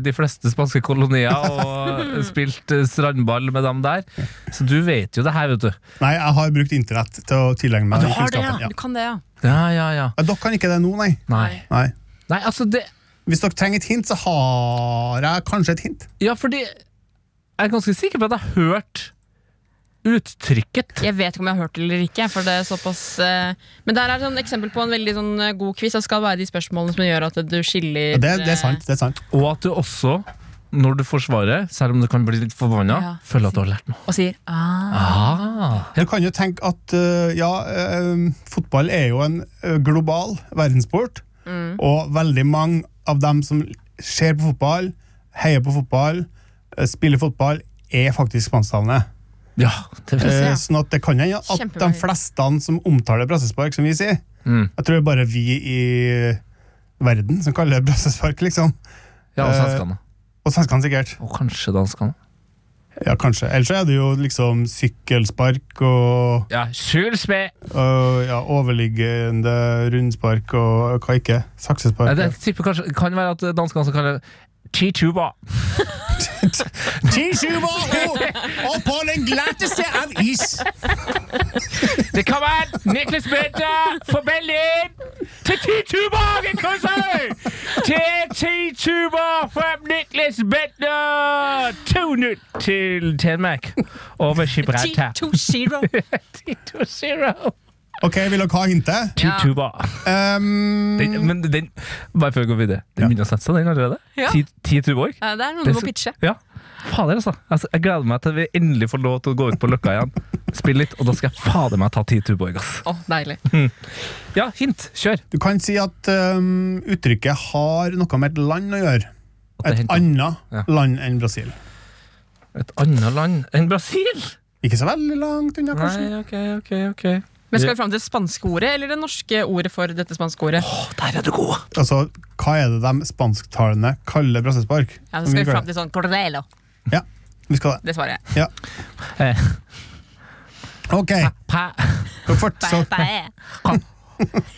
[SPEAKER 5] de fleste spanske kolonier og spilt eh, strandball med dem der. Så du vet jo det her, vet du.
[SPEAKER 7] Nei, jeg har brukt internett til å tilegne meg
[SPEAKER 5] du har det,
[SPEAKER 7] kunnskapen.
[SPEAKER 5] ja.
[SPEAKER 7] Ja.
[SPEAKER 6] Du kan det, ja.
[SPEAKER 5] Ja, ja, ja.
[SPEAKER 7] Ja, Dere kan ikke det nå, nei.
[SPEAKER 5] Nei.
[SPEAKER 7] nei.
[SPEAKER 5] Nei, altså det
[SPEAKER 7] Hvis dere trenger et hint, så har jeg kanskje et hint.
[SPEAKER 5] Ja, fordi jeg er ganske sikker på at jeg har hørt uttrykket.
[SPEAKER 6] Jeg vet ikke om jeg har hørt det eller ikke. For det er såpass, eh, men der er et sånn eksempel på en veldig sånn eh, god quiz. Det skal være de spørsmålene som gjør at du skiller
[SPEAKER 7] Ja, Det,
[SPEAKER 5] Eh,
[SPEAKER 7] det er sant. det er sant.
[SPEAKER 5] Og at du også, når du forsvarer, selv om du kan bli litt forbanna,
[SPEAKER 6] Ja.
[SPEAKER 5] føler at du har lært noe.
[SPEAKER 6] eh, Og sier ah.
[SPEAKER 5] Ah.
[SPEAKER 7] Du kan jo tenke at øh, ja, øh, fotball er jo en øh, global verdenssport, og veldig mange av dem som ser på fotball, heier på fotball, øh, spiller fotball, er faktisk spansktalende.
[SPEAKER 5] Ja, det vil jeg si.
[SPEAKER 7] Eh, Sånn at det kan hende at
[SPEAKER 6] Kjempemange.
[SPEAKER 7] de fleste som omtaler brassespark, som vi sier Jeg tror det er bare vi i verden som kaller det brassespark, liksom.
[SPEAKER 5] Ja, og
[SPEAKER 7] eh,
[SPEAKER 5] svenskene.
[SPEAKER 7] Og svenskene sikkert.
[SPEAKER 5] Og kanskje danskene.
[SPEAKER 7] Ja, kanskje. Ellers så er det jo liksom sykkelspark og
[SPEAKER 5] Ja, Kjølspe!
[SPEAKER 7] Øh, ja, overliggende rundspark og hva ikke? Saksespark.
[SPEAKER 5] Nei, Det jeg tipper kanskje, kan være at danskene også kaller det Chituba.
[SPEAKER 7] og, på den glatteste av is!
[SPEAKER 5] Det kan være Niklas Bøtter for Berlin! Til Tituba! En kunstner! Til Tituba fra Niklas Bøtter! 2-0 til Danmark over Gibraltar. [LAUGHS] 2-0.
[SPEAKER 7] Ok, vil dere ha hintet?
[SPEAKER 5] Tituba.
[SPEAKER 7] Ehm,
[SPEAKER 5] Den, men den, bare før vi går videre, den begynner å sette seg, den allerede?
[SPEAKER 6] Ja.
[SPEAKER 5] Ti- Tituborg?
[SPEAKER 6] Ja, det er noen
[SPEAKER 5] Det er
[SPEAKER 6] du må
[SPEAKER 5] så-
[SPEAKER 6] pitche.
[SPEAKER 5] Ja. Fader, altså. altså. Jeg gleder meg til vi endelig får lov til å gå ut på Løkka igjen, spille litt, og da skal jeg fader meg ta Tituborg, ass.
[SPEAKER 6] Å, deilig.
[SPEAKER 5] Ja, hint. Kjør.
[SPEAKER 7] Du kan si at ehm, uttrykket har noe med et land å gjøre.
[SPEAKER 5] At det
[SPEAKER 7] Et
[SPEAKER 5] henter-
[SPEAKER 7] annet
[SPEAKER 5] Ja.
[SPEAKER 7] land enn Brasil.
[SPEAKER 5] Et annet land enn Brasil?
[SPEAKER 7] Ikke så veldig langt unna, kanskje.
[SPEAKER 5] ok, ok, ok.
[SPEAKER 6] Men skal vi fram til det spanske ordet, eller det norske ordet for dette spanske ordet?
[SPEAKER 7] Der er du god! Altså, hva er det de spansktalende kaller brassespark?
[SPEAKER 6] Ja,
[SPEAKER 7] Som
[SPEAKER 6] så skal vi
[SPEAKER 7] kaller
[SPEAKER 6] fram til sånn cordelo.
[SPEAKER 7] det. Ja, vi skal det.
[SPEAKER 6] Det svarer jeg.
[SPEAKER 7] Ja. Ok,
[SPEAKER 5] Eh, Pa,
[SPEAKER 7] og fortsatt.
[SPEAKER 6] Pae.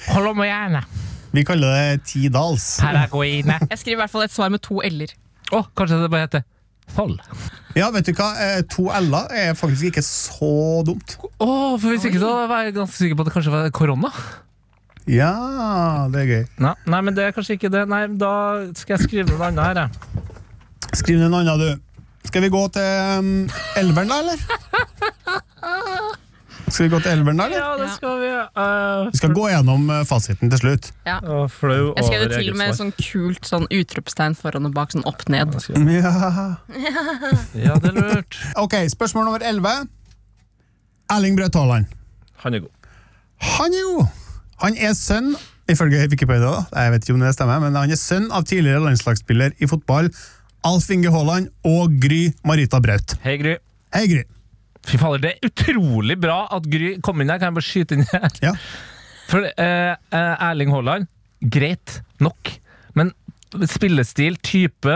[SPEAKER 5] Colombiana.
[SPEAKER 7] Vi kaller det ti dals.
[SPEAKER 5] Paraguayne.
[SPEAKER 6] Jeg skriver i hvert fall et svar med to l-er.
[SPEAKER 5] Å, kanskje det bare heter Foll.
[SPEAKER 7] Ja, vet du hva? Eh, To l-er er faktisk ikke så dumt.
[SPEAKER 5] Å, for hvis ikke så var jeg ganske sikker på at det kanskje var korona.
[SPEAKER 7] Ja, det er gøy.
[SPEAKER 5] Nei, nei, men det er kanskje ikke det. Nei, da skal jeg skrive noe annet her, jeg.
[SPEAKER 7] Skriv ned en annen, du. Skal vi gå til um, elveren, da, eller? Skal vi gå til elveren, da, eller?
[SPEAKER 5] Ja, det
[SPEAKER 6] Ja.
[SPEAKER 5] skal vi. Uh,
[SPEAKER 7] Vi skal gå gjennom eh, fasiten til slutt.
[SPEAKER 5] flau
[SPEAKER 6] Jeg skrev det til og med sånn kult sånn utropstegn foran og bak, sånn opp ned.
[SPEAKER 7] Ja.
[SPEAKER 5] Ja, det er lurt.
[SPEAKER 7] Ok, spørsmål nummer 11. Erling Braut Haaland.
[SPEAKER 5] Han er god.
[SPEAKER 7] Han er jo Han er sønn, ifølge Wikipedia, da. jeg vet ikke om det stemmer, men han er sønn av tidligere landslagsspiller i fotball Alf Inge Haaland og Gry Marita Braut.
[SPEAKER 5] Hei, Gry.
[SPEAKER 7] Hei, Gry.
[SPEAKER 5] Fy fader, det er utrolig bra at Gry kom inn her. Kan jeg bare skyte inn her?
[SPEAKER 7] Ja.
[SPEAKER 5] For eh, eh, Erling Haaland, greit nok. Men spillestil, type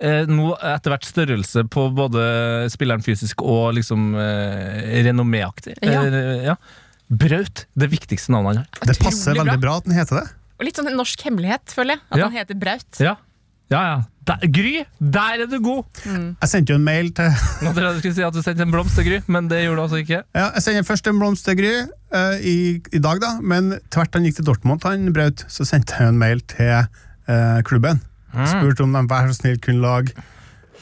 [SPEAKER 5] eh, Nå etter hvert størrelse på både spilleren fysisk og liksom eh, renomméaktig.
[SPEAKER 6] Ja.
[SPEAKER 5] Eh, ja. Braut, det viktigste navnet han har.
[SPEAKER 7] Det passer
[SPEAKER 6] Utrolig bra.
[SPEAKER 7] veldig bra at han heter det.
[SPEAKER 6] Og litt sånn en norsk hemmelighet, føler jeg. At
[SPEAKER 5] Ja.
[SPEAKER 6] han heter Braut.
[SPEAKER 5] Ja, ja. ja. Der, Gry, der er du god!
[SPEAKER 7] Jeg sendte jo en mail til
[SPEAKER 5] Nå trodde jeg du skulle si at du sendte en blomst til Gry, men det gjorde du altså ikke.
[SPEAKER 7] ja, Jeg sender først en blomst til Gry eh, i, i dag, da, men tvert han gikk til Dortmund, han Braut, så sendte jeg en mail til eh, klubben. Spurte om de vær så snill kunne lage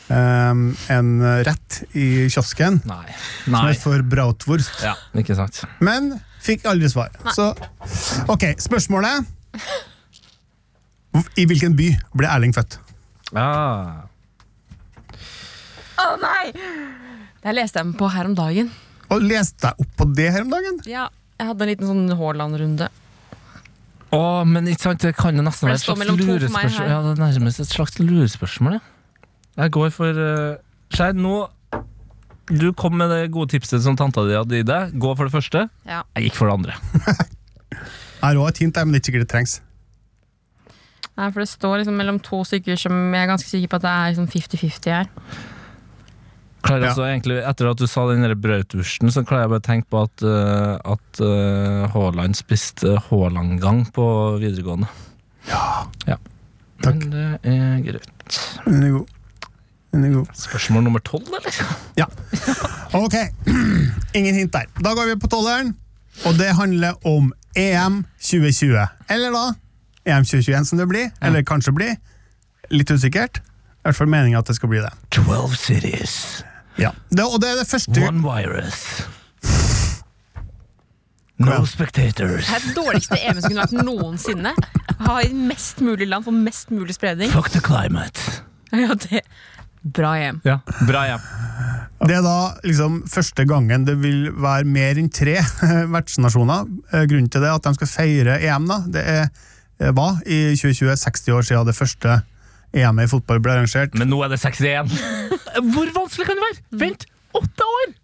[SPEAKER 7] eh, en rett i kiosken
[SPEAKER 5] Nei.
[SPEAKER 7] som
[SPEAKER 5] Nei.
[SPEAKER 7] er for Brautwurst.
[SPEAKER 5] Ja, ikke sant.
[SPEAKER 7] Men fikk aldri svar. Så, ok, spørsmålet I hvilken by ble Erling født?
[SPEAKER 5] Ah.
[SPEAKER 6] Å nei! Det leste jeg meg på her om dagen.
[SPEAKER 7] Og leste jeg opp på det her om dagen?
[SPEAKER 6] Ja, jeg hadde en liten sånn Haaland-runde.
[SPEAKER 5] Å, men ikke sant, det kan jo nesten
[SPEAKER 6] For
[SPEAKER 5] være
[SPEAKER 6] det
[SPEAKER 5] et
[SPEAKER 6] står
[SPEAKER 5] slags
[SPEAKER 6] mellom to for meg
[SPEAKER 5] lurespørsmål.
[SPEAKER 6] her.
[SPEAKER 5] Ja, det er nærmest et slags lurespørsmål, ja. Jeg går for uh, Skeid, nå Du kom med det gode tipset som tanta di hadde i deg. Gå for det første.
[SPEAKER 6] Ja.
[SPEAKER 5] Jeg gikk for det andre.
[SPEAKER 7] Jeg har også et hint, der, men det er ikke sikkert det trengs.
[SPEAKER 6] Nei, for det står liksom mellom to stykker som jeg er ganske sikker på at det er liksom 50-50 her.
[SPEAKER 5] Klarer
[SPEAKER 7] Ja.
[SPEAKER 5] altså egentlig, Etter at du sa den der brødtursten, så klarer jeg bare å tenke på at, eh, at eh, Haaland spiste Haaland-gang på videregående. Ja.
[SPEAKER 7] Takk.
[SPEAKER 5] Men det er greit.
[SPEAKER 7] Den er god. Den er god.
[SPEAKER 5] Spørsmål nummer tolv, eller?
[SPEAKER 7] Ja. Ok, [CLEARS THROAT] ingen hint der. Da går vi på tolleren, og det handler om EM 2020. Eller da EM 2021, som det blir. Eller kanskje blir. Litt usikkert. I hvert fall meningen at det skal bli det.
[SPEAKER 5] Twelve cities,
[SPEAKER 7] Ja. det og det er det første
[SPEAKER 5] one virus. No spectators.
[SPEAKER 6] Det er det dårligste EM som kunne vært noensinne. Ha i mest mulig land for mest mulig spredning.
[SPEAKER 5] Fuck the climate.
[SPEAKER 6] [LAUGHS] Ja, det Bra EM.
[SPEAKER 5] Ja, bra hjem.
[SPEAKER 7] Det er da liksom første gangen det vil være mer enn tre [LAUGHS] vertsnasjoner. Eh, Grunnen til det er at de skal feire EM. da. Det er, eh, var i 2020 60 år siden det første EM-et i fotball ble arrangert.
[SPEAKER 5] Men nå er det 61. [LAUGHS] Hvor vanskelig kan det være? Vent, åtte år!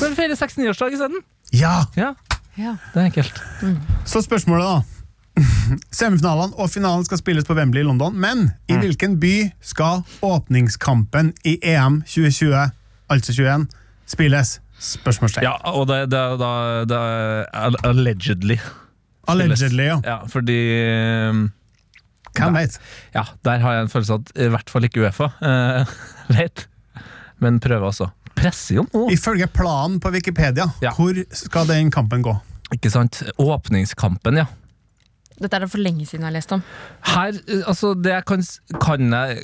[SPEAKER 5] Når du feirer 69-årsdag isteden.
[SPEAKER 7] Ja!
[SPEAKER 5] Ja,
[SPEAKER 6] Ja.
[SPEAKER 5] det er enkelt.
[SPEAKER 7] Så spørsmålet, da. [LAUGHS] Semifinalene og finalen skal spilles på Wembley i London, men i
[SPEAKER 5] Mm.
[SPEAKER 7] hvilken by skal åpningskampen i EM 2020, altså 21, spilles? Spørsmålstegn.
[SPEAKER 5] Ja, og det, det, det, det er allegedly.
[SPEAKER 7] Allegedly, ja.
[SPEAKER 5] Ja, fordi um,
[SPEAKER 7] Hvem vet?
[SPEAKER 5] Ja, der har jeg en følelse av at i hvert fall ikke Uefa eh, [LAUGHS] vet. Men prøve, altså. Presser jo nå,
[SPEAKER 7] Ifølge planen på Wikipedia,
[SPEAKER 5] Ja.
[SPEAKER 7] hvor skal den kampen gå?
[SPEAKER 5] ikke sant? Åpningskampen, ja.
[SPEAKER 6] Dette er det for lenge siden jeg har lest om.
[SPEAKER 5] Her, eh, altså det jeg kan, s- kan jeg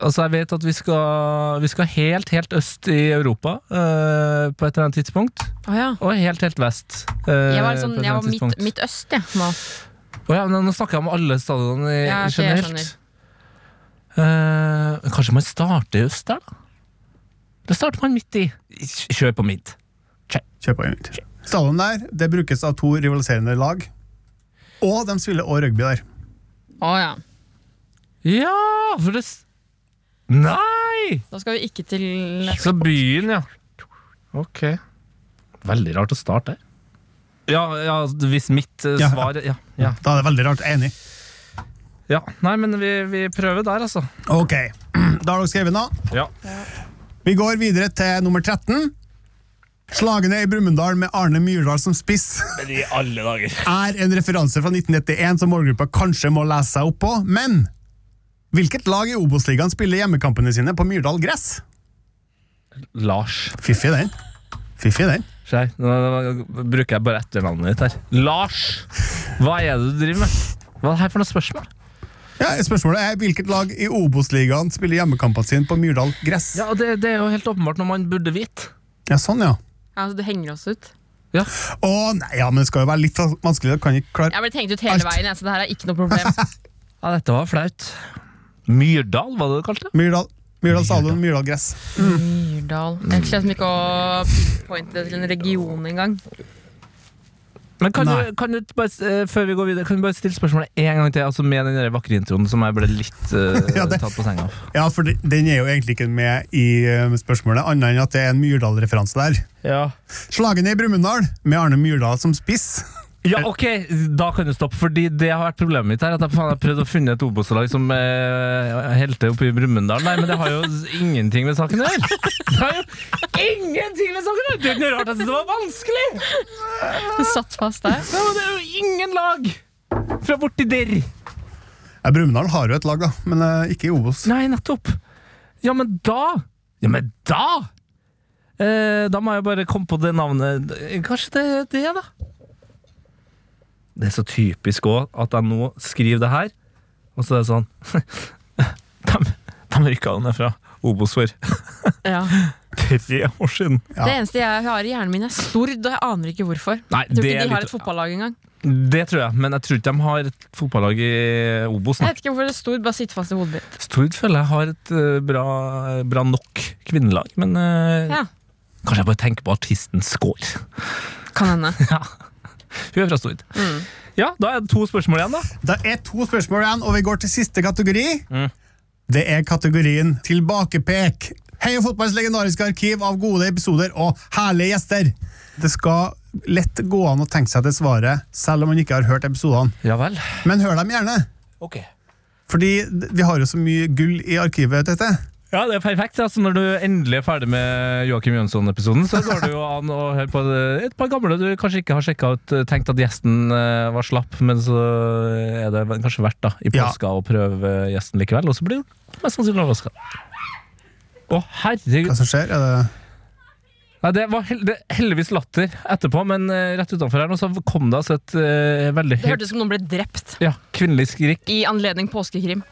[SPEAKER 5] Altså jeg vet at vi skal, vi skal helt, helt øst i Europa eh, på et eller annet tidspunkt.
[SPEAKER 6] Å ja.
[SPEAKER 5] Og helt, helt vest. eh,
[SPEAKER 6] Jeg var,
[SPEAKER 5] på et eller
[SPEAKER 6] sånn, jeg
[SPEAKER 5] annet
[SPEAKER 6] var midt,
[SPEAKER 5] tidspunkt.
[SPEAKER 6] midt øst, jeg. Ja. nå.
[SPEAKER 5] Å ja, men nå snakker jeg om alle stadionene i-
[SPEAKER 6] Ja, ok, jeg
[SPEAKER 5] generelt. Eh, kanskje man starter i øst der, da? Det starter man midt i. Kjør på midt.
[SPEAKER 7] Kjør på en minutt. Stadion der det brukes av to rivaliserende lag. Og de spiller også rugby der.
[SPEAKER 6] Å ja.
[SPEAKER 5] Ja, for det s- Nei!
[SPEAKER 6] Da skal vi ikke til
[SPEAKER 5] Så byen, ja. Ok. Veldig rart å starte her. Ja, ja, hvis mitt eh,
[SPEAKER 7] Ja, ja.
[SPEAKER 5] svar ja, ja,
[SPEAKER 7] Da er det veldig rart. Enig.
[SPEAKER 5] ja. Nei, men vi, vi prøver der, altså.
[SPEAKER 7] Ok, [CLEARS THROAT] da har dere skrevet nå.
[SPEAKER 5] Ja.
[SPEAKER 7] Vi går videre til nummer 13. Slagene i Brumunddal med Arne Myrdal som spiss
[SPEAKER 5] I alle dager.
[SPEAKER 7] er en referanse fra 1991 som målgruppa kanskje må lese seg opp på, men hvilket lag i Obos-ligaen spiller hjemmekampene sine på Myrdal gress?
[SPEAKER 5] Lars.
[SPEAKER 7] Fiffig den. Fiffig den.
[SPEAKER 5] Skjær. Nå nå bruker jeg bare etternavnet ditt her. Lars! Hva er det du driver med? Hva er det her for noe spørsmål?
[SPEAKER 7] Ja, spørsmålet er hvilket lag i Obos-ligaen spiller hjemmekampene sine på Myrdal gress?
[SPEAKER 5] Ja, og det, det er jo helt åpenbart noe man burde vite.
[SPEAKER 7] Ja, sånn, ja.
[SPEAKER 6] Ja, altså, du henger oss ut.
[SPEAKER 5] Ja.
[SPEAKER 7] Å, nei, ja, men det skal jo være litt vanskelig. Jeg kan ikke klare
[SPEAKER 6] Jeg ble tenkt ut hele
[SPEAKER 7] Alt.
[SPEAKER 6] veien, jeg, så det her er ikke noe problem.
[SPEAKER 5] ja, dette var flaut. Myrdal, hva var det du kalte det?
[SPEAKER 7] Myrdal, Myrdal stadion, Myrdal gress.
[SPEAKER 6] [LAUGHS] Myrdal. Jeg sliter ikke å pointe til en region engang.
[SPEAKER 5] Men kan
[SPEAKER 7] Nei.
[SPEAKER 5] du, kan du bare, eh, før vi går videre, kan du bare stille spørsmålet en gang til, altså med den der vakre introen som jeg ble litt eh,
[SPEAKER 7] [LAUGHS] Ja, det-
[SPEAKER 5] tatt på senga av?
[SPEAKER 7] Ja, for de- den er jo egentlig ikke med i eh, spørsmålet, annet enn at det er en Myrdal-referanse der.
[SPEAKER 5] Ja.
[SPEAKER 7] Slagene i Brumunddal, med Arne Myrdal som spiss.
[SPEAKER 5] ok, da kan du stoppe, fordi det har vært problemet mitt her, at jeg faen har prøvd å finne et Obos-lag som eh, helte oppe i Brumunddal. Nei, men det har jo ingenting med saken å gjøre!
[SPEAKER 7] [LAUGHS]
[SPEAKER 5] Det har jo ingenting med saken å gjøre! Det er ikke noe rart jeg synes det var vanskelig!
[SPEAKER 6] Du satt fast der.
[SPEAKER 5] Ja, men det er jo ingen lag fra borti der!
[SPEAKER 7] Ja, Brumunddal har jo et lag, da, men eh, ikke i Obos.
[SPEAKER 5] Nei, nettopp. Ja, men da Ja, men da! Eh, da må jeg bare komme på det navnet Kanskje det er det, da? Det er så typisk òg at jeg nå skriver det her, og så er det sånn [LAUGHS] De, de rykka jo ned fra Obos for
[SPEAKER 6] Ja.
[SPEAKER 5] tre år siden.
[SPEAKER 6] Det eneste jeg har i hjernen min, er Stord, og jeg aner ikke hvorfor.
[SPEAKER 5] Nei,
[SPEAKER 6] Jeg tror
[SPEAKER 5] det
[SPEAKER 6] ikke
[SPEAKER 5] er
[SPEAKER 6] de har
[SPEAKER 5] litt-
[SPEAKER 6] et fotballag engang.
[SPEAKER 5] Det tror jeg, men jeg tror ikke de har et fotballag i Obos.
[SPEAKER 6] Jeg
[SPEAKER 5] nå.
[SPEAKER 6] vet ikke hvorfor det Stord bare sitter fast i hodet mitt.
[SPEAKER 5] Stord føler jeg har et eh, bra, bra nok kvinnelag, men eh,
[SPEAKER 6] Ja,
[SPEAKER 5] kanskje jeg bare tenker på artisten Skår.
[SPEAKER 6] Kan hende.
[SPEAKER 5] Hun er fra Stord.
[SPEAKER 6] Mm.
[SPEAKER 5] Ja, da er det to spørsmål igjen, da.
[SPEAKER 7] Det er to spørsmål igjen, og vi går til siste kategori. Det er kategorien Tilbakepek. Heia fotballens legendariske arkiv av gode episoder og herlige gjester. Det skal lett gå an å tenke seg til svaret, selv om man ikke har hørt episodene.
[SPEAKER 5] Ja vel.
[SPEAKER 7] Men hør dem gjerne,
[SPEAKER 5] Ok.
[SPEAKER 7] fordi vi har jo så mye gull i arkivet. Dette.
[SPEAKER 5] Ja, det er perfekt. Altså, når du endelig er ferdig med Joakim Jønsson-episoden, så går det jo an å høre på et par gamle du kanskje ikke har sjekka ut. Tenkt at gjesten eh, var slapp, men så er det kanskje verdt da, i
[SPEAKER 7] Ja.
[SPEAKER 5] påska å prøve gjesten likevel. Og så blir du mest sannsynlig overraska. Å, herregud.
[SPEAKER 7] Hva som skjer? Er det
[SPEAKER 5] Nei, det var hel det er heldigvis latter etterpå, men eh, rett utenfor her nå så kom det altså et eh, veldig
[SPEAKER 6] Det hørtes ut som noen ble drept
[SPEAKER 5] ja, kvinnelig skrik.
[SPEAKER 6] i anledning påskekrim.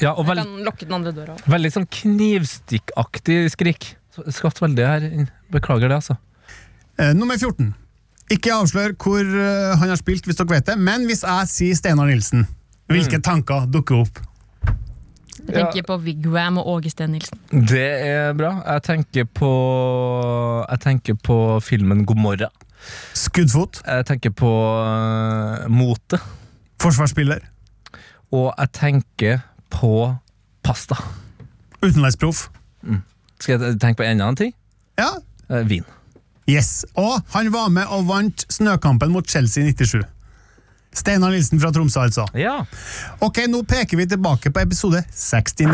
[SPEAKER 5] Ja, og
[SPEAKER 6] Jeg
[SPEAKER 5] veld
[SPEAKER 6] kan lukke den andre døra opp.
[SPEAKER 5] Veldig sånn knivstikkaktig skrik. Skvatt veldig her. inn. Beklager det, altså.
[SPEAKER 7] Eh, Nummer 14. Ikke avslør hvor eh, han har spilt, hvis dere vet det, men hvis jeg sier Steinar Nilsen, hvilke tanker dukker opp?
[SPEAKER 6] Jeg tenker på Wigwam og Åge Steen Nilsen.
[SPEAKER 5] Det er bra. Jeg tenker på Jeg tenker på filmen God morgen.
[SPEAKER 7] Skuddfot,
[SPEAKER 5] Jeg tenker på uh, mote.
[SPEAKER 7] forsvarsspiller,
[SPEAKER 5] Og jeg tenker på pasta.
[SPEAKER 7] utenlandsproff.
[SPEAKER 5] Skal jeg tenke på enda en ting?
[SPEAKER 7] Ja,
[SPEAKER 5] Eh, vin.
[SPEAKER 7] yes. Og han var med og vant snøkampen mot Chelsea i 97. Steinar Nilsen fra Tromsø, altså.
[SPEAKER 5] Ja.
[SPEAKER 7] Ok, nå peker vi tilbake på episode 69.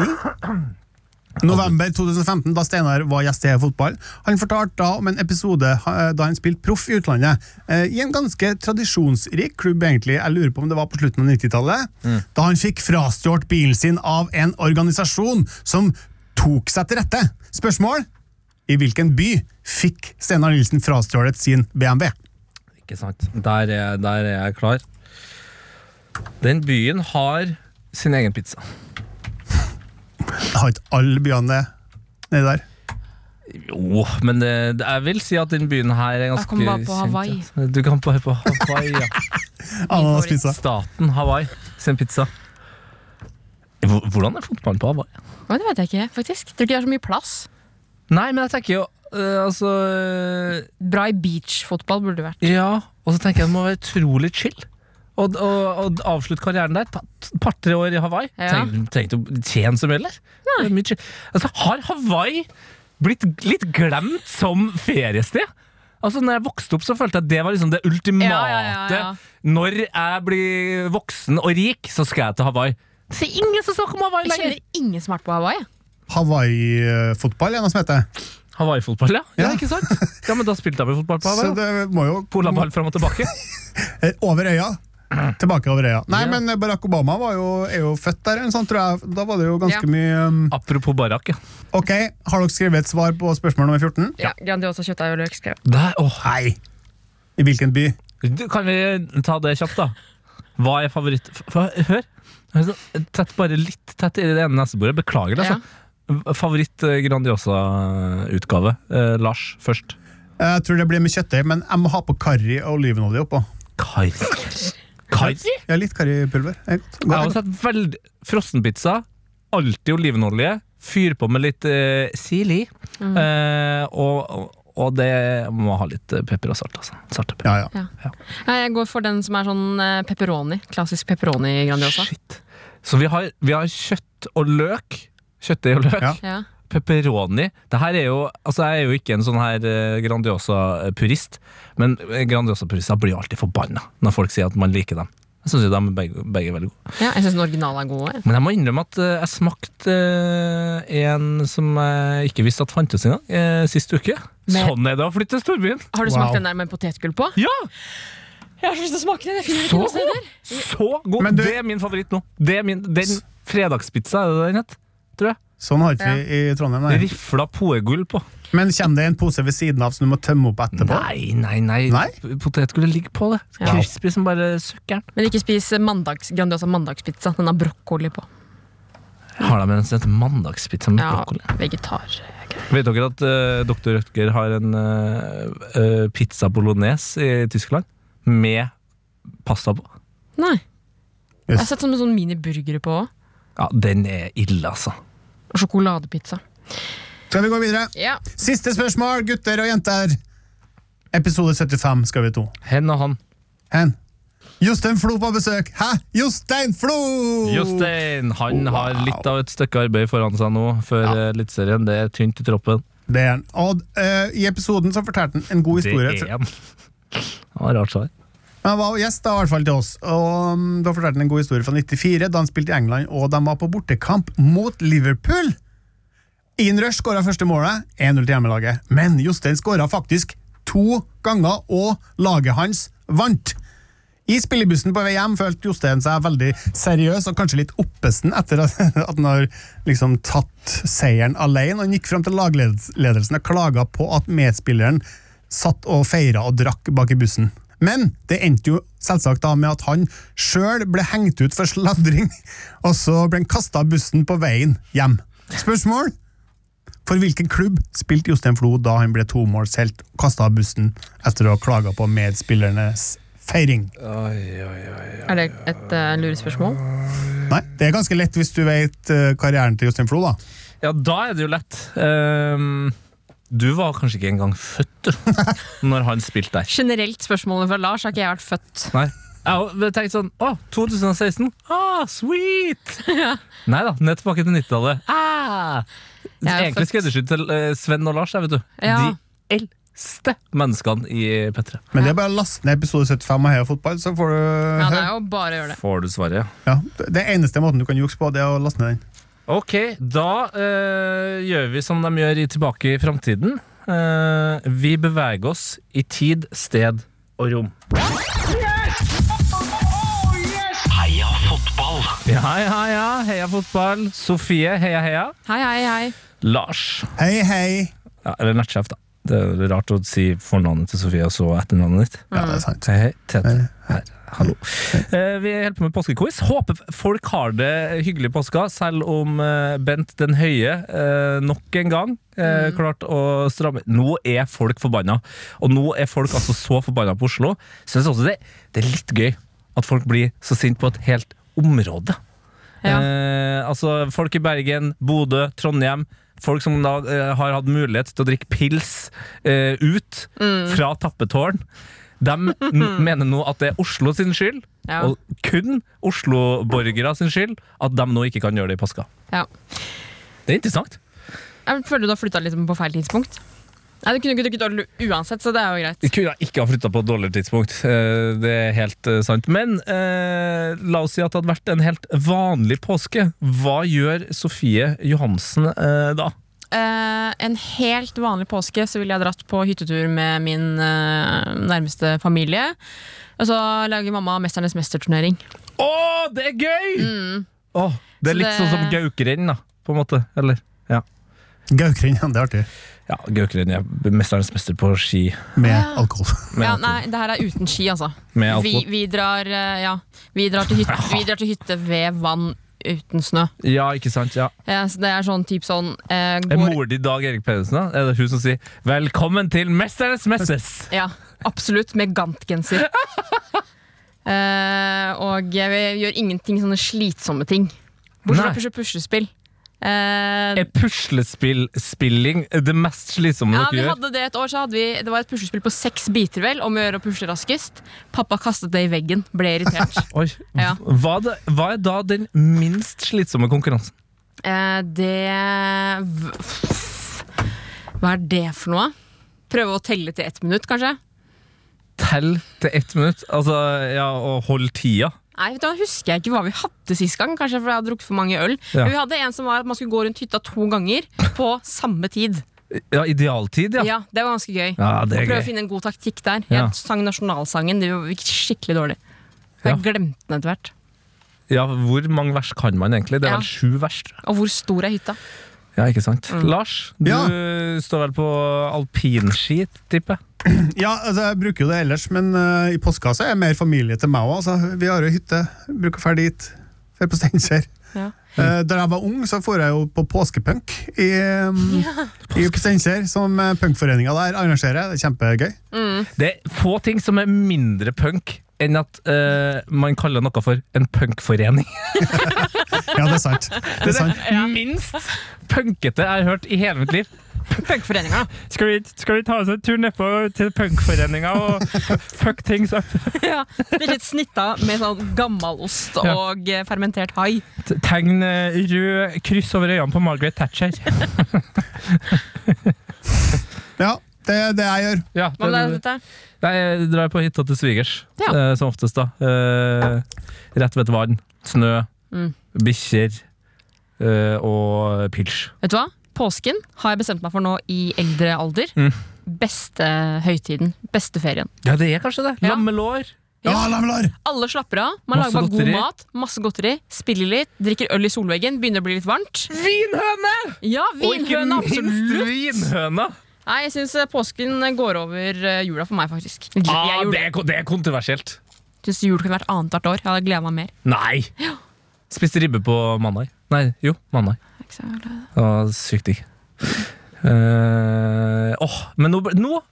[SPEAKER 7] November 2015, da Steinar var gjest i Heia Fotball. Han fortalte da om en episode eh, da han spilte proff i utlandet. eh, I en ganske tradisjonsrik klubb, egentlig. Jeg lurer på om det var på slutten av 90-tallet. Da han fikk frastjålet bilen sin av en organisasjon som tok seg til rette. Spørsmål? I hvilken by fikk Steinar Nilsen frastjålet sin BMW?
[SPEAKER 5] Ikke sant. Der er, der er jeg klar. Den byen har sin egen pizza.
[SPEAKER 7] Det har ikke alle byene det nedi der.
[SPEAKER 5] Jo, men det, det, jeg vil si at den byen her er ganske
[SPEAKER 6] kan man bare på
[SPEAKER 5] kjent,
[SPEAKER 6] Hawaii.
[SPEAKER 5] ja. Du kan bare på Hawaii, [LAUGHS] ja.
[SPEAKER 7] Ananaspizza.
[SPEAKER 5] Staten Hawaii sin pizza. Hvor- Hvordan er fotballen på Hawaii?
[SPEAKER 6] Oi, det vet jeg ikke, faktisk. Tror ikke det er så mye plass.
[SPEAKER 5] Nei, men jeg tenker jo øh, Altså øh,
[SPEAKER 6] Bra i beachfotball burde det vært.
[SPEAKER 5] Ja, og så tenker jeg det må være utrolig chill. Og, og, og avslutte karrieren der. Ta- t- Par-tre år i Hawaii.
[SPEAKER 6] Ja.
[SPEAKER 5] Tenk- Tenkte du tjene så mye, eller? Det er mye chill. Altså, har Hawaii blitt litt glemt som feriested? Altså, når jeg vokste opp, så følte jeg at det var liksom det ultimate.
[SPEAKER 6] Ja, ja, ja, ja.
[SPEAKER 5] Når jeg blir voksen og rik, så skal jeg til Hawaii. Det er ingen som snakker om Hawaii
[SPEAKER 6] Jeg
[SPEAKER 5] lenger!
[SPEAKER 6] kjenner ingen som har vært på Hawaii. jeg.
[SPEAKER 7] Hawaii-fotball, er det noe som heter.
[SPEAKER 5] Hawaii-fotball, ja. ja.
[SPEAKER 7] Ja.
[SPEAKER 5] Ikke sant? Ja, men da spilte jeg vel fotball
[SPEAKER 7] [LAUGHS]
[SPEAKER 5] på
[SPEAKER 7] Så
[SPEAKER 5] Hawaii. da.
[SPEAKER 7] det må jo
[SPEAKER 5] Polaball fram og tilbake.
[SPEAKER 7] Eh, Over øya.
[SPEAKER 5] [CLEARS THROAT]
[SPEAKER 7] Tilbake over øya. Nei,
[SPEAKER 5] Ja.
[SPEAKER 7] men eh, Barack Obama var jo, er jo født der, eller sånn, tror jeg. Da var det jo ganske
[SPEAKER 6] Ja.
[SPEAKER 7] mye um,
[SPEAKER 5] Apropos Barak, ja.
[SPEAKER 7] Ok, har dere skrevet et svar på spørsmål nummer 14?
[SPEAKER 6] Ja, Grandiosa kjøttdeig og løk skrev jeg.
[SPEAKER 5] Der, åh.
[SPEAKER 7] Nei. I hvilken by?
[SPEAKER 5] Du, Kan vi ta det kjapt, da? Hva er favoritt... f- f- Hør! Hør sånn, Tett, bare litt tett i det ene neseboret. Beklager det, altså. Favoritt eh, Grandiosa-utgave. Eh, Lars først.
[SPEAKER 7] Jeg tror det blir med kjøttdeig, men jeg må ha på karri og olivenolje oppå.
[SPEAKER 5] Kai. Kai. Jeg
[SPEAKER 7] Ja, litt karripulver. Det er godt.
[SPEAKER 5] har
[SPEAKER 7] Godt.
[SPEAKER 5] også hatt veldig frossenpizza. Alltid olivenolje. Fyr på med litt eh, sili. Eh, og, og- og det må ha litt eh, pepper og salt, altså. Salt og
[SPEAKER 7] Ja,
[SPEAKER 5] pepper.
[SPEAKER 7] ja.
[SPEAKER 6] Nei, Jeg går for den som er sånn eh, pepperoni. Klassisk pepperoni Grandiosa.
[SPEAKER 5] Shit. Så vi har, vi har kjøtt og løk. Kjøttdeig og løk.
[SPEAKER 7] Ja.
[SPEAKER 6] Ja.
[SPEAKER 5] Pepperoni. Det her er jo, altså jeg er jo ikke en sånn her eh, Grandiosa-purist, men eh, Grandiosa-purister blir jo alltid forbanna når folk sier at man liker dem. Jeg syns de er begge, begge er veldig gode.
[SPEAKER 6] Ja, jeg syns den originale er god. jeg.
[SPEAKER 5] Men jeg må innrømme at eh, jeg smakte eh, en som jeg ikke visste at fantes engang, eh, sist uke.
[SPEAKER 6] Men-
[SPEAKER 5] Sånn er det å flytte til storbyen!
[SPEAKER 6] Har du
[SPEAKER 7] Wow.
[SPEAKER 6] smakt den der med potetgull på?
[SPEAKER 5] Ja!
[SPEAKER 6] Jeg har så lyst til å smake den! jeg finner ikke
[SPEAKER 5] Så
[SPEAKER 6] noe sted
[SPEAKER 5] god!
[SPEAKER 6] der.
[SPEAKER 5] Så god.
[SPEAKER 7] Men du-
[SPEAKER 5] Det er min favoritt nå. Det er min, den fredagspizza, er det den het? Tror jeg.
[SPEAKER 7] Sånn har ikke vi i Trondheim. nei.
[SPEAKER 5] Rifla poegull på.
[SPEAKER 7] Men kommer det en pose ved siden av som du må tømme opp etterpå?
[SPEAKER 5] Nei, nei, nei.
[SPEAKER 7] Nei?
[SPEAKER 5] P- Potetgullet ligger på det.
[SPEAKER 6] Ja.
[SPEAKER 5] Crispy som bare søkkeren.
[SPEAKER 6] Men ikke spis mandags, Grandiosa mandagspizza. Den har brokkoli på.
[SPEAKER 5] Har de en sånn mandagspizza med
[SPEAKER 6] Ja,
[SPEAKER 5] brokkoli?
[SPEAKER 6] vegetar.
[SPEAKER 5] Vet dere at eh, Dr. Rødger har en eh, eh, pizza bolognese i Tyskland? Med pasta på.
[SPEAKER 6] Nei.
[SPEAKER 7] Yes.
[SPEAKER 6] Jeg har sett sånne sånn miniburgere på òg.
[SPEAKER 5] Ja, den er ille, altså.
[SPEAKER 6] Og sjokoladepizza.
[SPEAKER 7] Skal vi gå videre?
[SPEAKER 6] Ja.
[SPEAKER 7] Siste spørsmål, gutter og jenter. Episode 75 skal vi to.
[SPEAKER 5] Hen og han.
[SPEAKER 7] Hen. Jostein Flo på besøk. Hæ? Jostein Flo!
[SPEAKER 5] Jostein han
[SPEAKER 7] Oh,
[SPEAKER 5] har litt av et stykke arbeid foran seg nå før ja. Eliteserien. Det er tynt i troppen.
[SPEAKER 7] Det er han. Og eh, I episoden så fortalte han en god
[SPEAKER 5] Det
[SPEAKER 7] historie.
[SPEAKER 5] er han. Det var rart svar.
[SPEAKER 7] Han var gjest da, i hvert fall til oss. Og mm, Da fortalte han en god historie fra 94, da han spilte i England, og de var på bortekamp mot Liverpool. Ian Rush skåra første målet, 1-0 til hjemmelaget. Men Jostein skåra faktisk to ganger, og laget hans vant. I spillebussen på vei hjem følte Jostein seg veldig seriøs og kanskje litt oppesen etter at [LAUGHS] at han har liksom tatt seieren alene. og Han gikk fram til lagledelsen og klaga på at medspilleren satt og feira og drakk bak i bussen. Men det endte jo selvsagt da med at han sjøl ble hengt ut for sladring, [LAUGHS] og så ble han kasta av bussen på veien hjem. Spørsmål? For hvilken klubb spilte Jostein Flo da han ble tomålshelt og kasta av bussen etter å ha klaga på medspillernes feiring?
[SPEAKER 6] Er det et uh, lurespørsmål?
[SPEAKER 7] Nei, det er ganske lett hvis du vet eh, karrieren til Jostein Flo, da.
[SPEAKER 5] Ja, da er det jo lett. Ehm, du var kanskje ikke engang
[SPEAKER 7] [LAUGHS]
[SPEAKER 5] født du, når han spilte der.
[SPEAKER 6] Generelt spørsmålet fra Lars har ikke jeg vært født.
[SPEAKER 5] Nei. Jeg tenkte sånn Å, 2016! Ah,
[SPEAKER 6] [LAUGHS]
[SPEAKER 5] sweet! Nei da, ned tilbake til 90-tallet. Ah! Det
[SPEAKER 6] Jeg
[SPEAKER 5] er
[SPEAKER 6] er
[SPEAKER 5] Egentlig
[SPEAKER 6] født-
[SPEAKER 5] skreddersydd til eh, Sven og Lars, jeg, vet du.
[SPEAKER 6] Ja.
[SPEAKER 5] De eldste menneskene i P3.
[SPEAKER 7] Men det er bare å laste ned episode 75 av Heia fotball, så får du
[SPEAKER 6] Ja, det
[SPEAKER 7] høre.
[SPEAKER 6] er jo bare å gjøre det.
[SPEAKER 5] Får du svaret, ja.
[SPEAKER 7] Ja, det er eneste måten du kan jukse på, det er å laste ned den.
[SPEAKER 5] Ok, da eh, gjør vi som de gjør i Tilbake i framtiden. Eh, vi beveger oss i tid, sted og rom.
[SPEAKER 4] Heia fotball!
[SPEAKER 5] Ja, ja, ja. Heia fotball. Sofie, heia, heia.
[SPEAKER 6] Hei, hei, hei.
[SPEAKER 5] Lars.
[SPEAKER 7] Hei, hei!
[SPEAKER 5] Ja, eller nettsjef, da. Det er jo rart å si fornavnet til Sofie og så etternavnet ditt.
[SPEAKER 7] Ja, det er sant.
[SPEAKER 5] Hei, hei, Tete. Her. Hallo. Eh, vi holder på med påskequiz. Håper folk har det hyggelig i påska, selv om eh, Bent den høye eh, nok en gang eh, klarte å stramme Nå er folk forbanna. Og nå er folk altså så forbanna på Oslo. Syns også det, det er litt gøy at folk blir så sint på et helt område.
[SPEAKER 6] Ja.
[SPEAKER 5] Eh, altså Folk i Bergen, Bodø, Trondheim. Folk som da eh, har hatt mulighet til å drikke pils eh, ut
[SPEAKER 6] Mm.
[SPEAKER 5] fra tappetårn. De
[SPEAKER 6] [LAUGHS]
[SPEAKER 5] n- mener nå at det er Oslo sin skyld,
[SPEAKER 6] Ja.
[SPEAKER 5] og kun Oslo-borgere sin skyld, at de nå ikke kan gjøre det i påska.
[SPEAKER 6] Ja.
[SPEAKER 5] Det er interessant.
[SPEAKER 6] Jeg føler du har flytta litt på feil tidspunkt. Nei, Det kunne ikke dukket opp uansett, så det er jo greit.
[SPEAKER 5] Vi kunne ikke ha flytta på et dårligere tidspunkt. Eh, Det er helt eh, sant. Men eh, la oss si at det hadde vært en helt vanlig påske. Hva gjør Sofie Johansen eh, da?
[SPEAKER 6] Eh, en helt vanlig påske så ville jeg dratt på hyttetur med min eh, nærmeste familie. Og så lager mamma Mesternes mesterturnering.
[SPEAKER 5] Å, det er gøy! Åh, det
[SPEAKER 6] Mm. Så
[SPEAKER 5] er litt
[SPEAKER 6] det-
[SPEAKER 5] sånn som gaukerenn, da, på en måte. Eller? Ja.
[SPEAKER 7] Gaukrenn, ja, det er artig.
[SPEAKER 5] Ja, Gaukerenn er mesterens mester på ski.
[SPEAKER 7] Med alkohol. [LAUGHS]
[SPEAKER 5] Med
[SPEAKER 6] ja,
[SPEAKER 5] alkohol.
[SPEAKER 6] nei, det her er uten ski, altså.
[SPEAKER 5] Med alkohol.
[SPEAKER 6] Vi, vi, drar, eh, ja, vi, drar til hytte,
[SPEAKER 5] [LAUGHS]
[SPEAKER 6] vi drar til hytte ved vann uten snø.
[SPEAKER 5] Ja, ikke sant? Ja.
[SPEAKER 6] Ja, så det er sånn typ sånn eh,
[SPEAKER 5] Er
[SPEAKER 6] går,
[SPEAKER 5] mor di Dag Erik Pedersen, da? Er det hun som sier 'Velkommen til Mesternes Messes'?
[SPEAKER 6] [LAUGHS] Ja, absolutt. Med gantgenser. Eh, og vi gjør ingenting sånne slitsomme ting.
[SPEAKER 5] Nei.
[SPEAKER 6] Bortsett fra pusle- puslespill. Eh,
[SPEAKER 5] Er puslespill-spilling det mest slitsomme
[SPEAKER 6] Ja, vi
[SPEAKER 5] dere gjør?
[SPEAKER 6] hadde det et år, så hadde vi Det var et puslespill på seks biter, vel, om å gjøre å pusle raskest. Pappa kastet det i veggen. Ble irritert.
[SPEAKER 5] [LAUGHS] Oi,
[SPEAKER 6] Ja.
[SPEAKER 5] hva, er det, hva er da den minst slitsomme konkurransen?
[SPEAKER 6] eh, det v- Hva er det for noe? Prøve å telle til ett minutt, kanskje?
[SPEAKER 5] Tell til ett minutt. Altså, ja, og hold tida.
[SPEAKER 6] Nei, vet du, hva, husker jeg ikke hva vi hadde sist gang. Kanskje fordi jeg hadde drukket for mange øl.
[SPEAKER 5] Ja.
[SPEAKER 6] Men vi hadde en som var at man skulle gå rundt hytta to ganger på samme tid.
[SPEAKER 5] Ja, idealtid,
[SPEAKER 6] Ja,
[SPEAKER 5] [LAUGHS] ja.
[SPEAKER 6] Det var ganske gøy.
[SPEAKER 5] Ja, det er
[SPEAKER 6] Prøve å
[SPEAKER 5] gøy.
[SPEAKER 6] finne en god taktikk der.
[SPEAKER 5] Ja.
[SPEAKER 6] Jeg sang nasjonalsangen. Det gikk skikkelig dårlig. Så
[SPEAKER 5] Ja.
[SPEAKER 6] jeg glemte den etter hvert.
[SPEAKER 5] ja. Hvor mange vers kan man egentlig? Det er
[SPEAKER 6] Ja.
[SPEAKER 5] vel sju vers. tror jeg.
[SPEAKER 6] Og hvor stor er hytta?
[SPEAKER 5] Ja, ikke sant? Mm. Lars, du
[SPEAKER 7] Ja.
[SPEAKER 5] står vel på alpinski, tipper jeg?
[SPEAKER 7] Ja, altså, jeg bruker jo det ellers, men eh, i påska så er jeg mer familie til meg òg. Altså, vi har jo hytte, bruker ferdig dit, drar på Steinkjer.
[SPEAKER 6] Ja.
[SPEAKER 7] Eh, da jeg var ung, så dro jeg jo på påskepunk i,
[SPEAKER 6] [LAUGHS]
[SPEAKER 7] um, i Steinkjer, som eh, punkforeninga der arrangerer. Det er kjempegøy.
[SPEAKER 5] Det er få ting som er mindre punk enn at eh, man kaller noe for en punkforening.
[SPEAKER 7] Ja, det er sant. [LAUGHS] Det er
[SPEAKER 5] [LAUGHS]
[SPEAKER 7] sant.
[SPEAKER 5] Minst punkete jeg har hørt i hele mitt liv.
[SPEAKER 6] Punkforeninga.
[SPEAKER 5] Skal vi, skal vi ta oss en tur nedpå til punkforeninga og fuck things up?
[SPEAKER 6] [LAUGHS] Ja, blir litt snitta med sånn gammalost
[SPEAKER 5] Ja.
[SPEAKER 6] og eh, fermentert hai.
[SPEAKER 5] Tegn eh, rød kryss over øynene på Margaret Thatcher.
[SPEAKER 7] Ja, det er det jeg gjør.
[SPEAKER 5] Ja,
[SPEAKER 6] Hva
[SPEAKER 5] det-
[SPEAKER 6] med deg, dette?
[SPEAKER 5] Nei, jeg drar på hytta til svigers,
[SPEAKER 6] Ja.
[SPEAKER 5] eh, som oftest, da. Eh, rett ved et vann, snø,
[SPEAKER 6] Mm.
[SPEAKER 5] bikkjer eh, og pils.
[SPEAKER 6] Vet du hva? Påsken har jeg bestemt meg for nå i eldre alder.
[SPEAKER 5] Mm.
[SPEAKER 6] Beste høytiden. Beste ferien.
[SPEAKER 5] Ja, det er kanskje det.
[SPEAKER 6] Ja.
[SPEAKER 5] Lammelår.
[SPEAKER 7] Ja, lammelar!
[SPEAKER 6] Alle slapper av. Man
[SPEAKER 5] Masse
[SPEAKER 6] lager bare
[SPEAKER 5] godteri.
[SPEAKER 6] god mat, masse godteri, spiller litt, drikker øl i solveggen, begynner å bli litt varmt.
[SPEAKER 5] Vinhøne!
[SPEAKER 6] Ja,
[SPEAKER 5] Og ikke
[SPEAKER 6] vinhøne,
[SPEAKER 5] minst
[SPEAKER 6] absolutt!
[SPEAKER 5] vinhøna!
[SPEAKER 6] Nei, jeg syns påsken går over eh, jula for meg, faktisk. Jeg
[SPEAKER 5] Ah,
[SPEAKER 6] jul-
[SPEAKER 5] det, er, ko- det er kontroversielt.
[SPEAKER 6] syns jul kunne vært annethvert år. Jeg hadde gleda meg mer.
[SPEAKER 5] Nei! Spiste ribbe på mandag. Nei, jo, mandag.
[SPEAKER 6] Jeg er ikke så glad i
[SPEAKER 5] Det
[SPEAKER 6] det.
[SPEAKER 5] var sykt digg. Eh, åh, men nå, ble- nå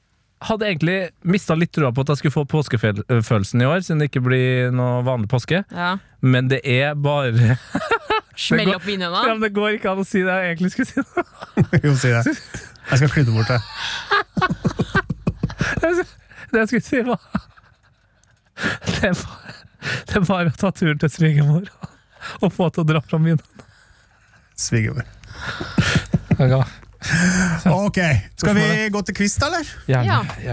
[SPEAKER 5] hadde jeg egentlig mista litt trua på at jeg skulle få påskefølelsen i år, siden det ikke blir noe vanlig påske.
[SPEAKER 6] Ja.
[SPEAKER 5] Men det er bare [LAUGHS]
[SPEAKER 6] Smell
[SPEAKER 5] går-
[SPEAKER 6] opp vinhøna.
[SPEAKER 5] ja, men Det går ikke an å si det jeg egentlig skulle si. Det.
[SPEAKER 7] Jo, si det. Jeg skal klyde bort det.
[SPEAKER 5] [LAUGHS] det jeg skulle si, var Det er bare, det er bare å ta turen til svigermor og få henne til å dra fram vinen.
[SPEAKER 7] Svigermor.
[SPEAKER 5] Ja,
[SPEAKER 7] Ok, skal vi gå til quiz, da, eller?
[SPEAKER 6] Ja.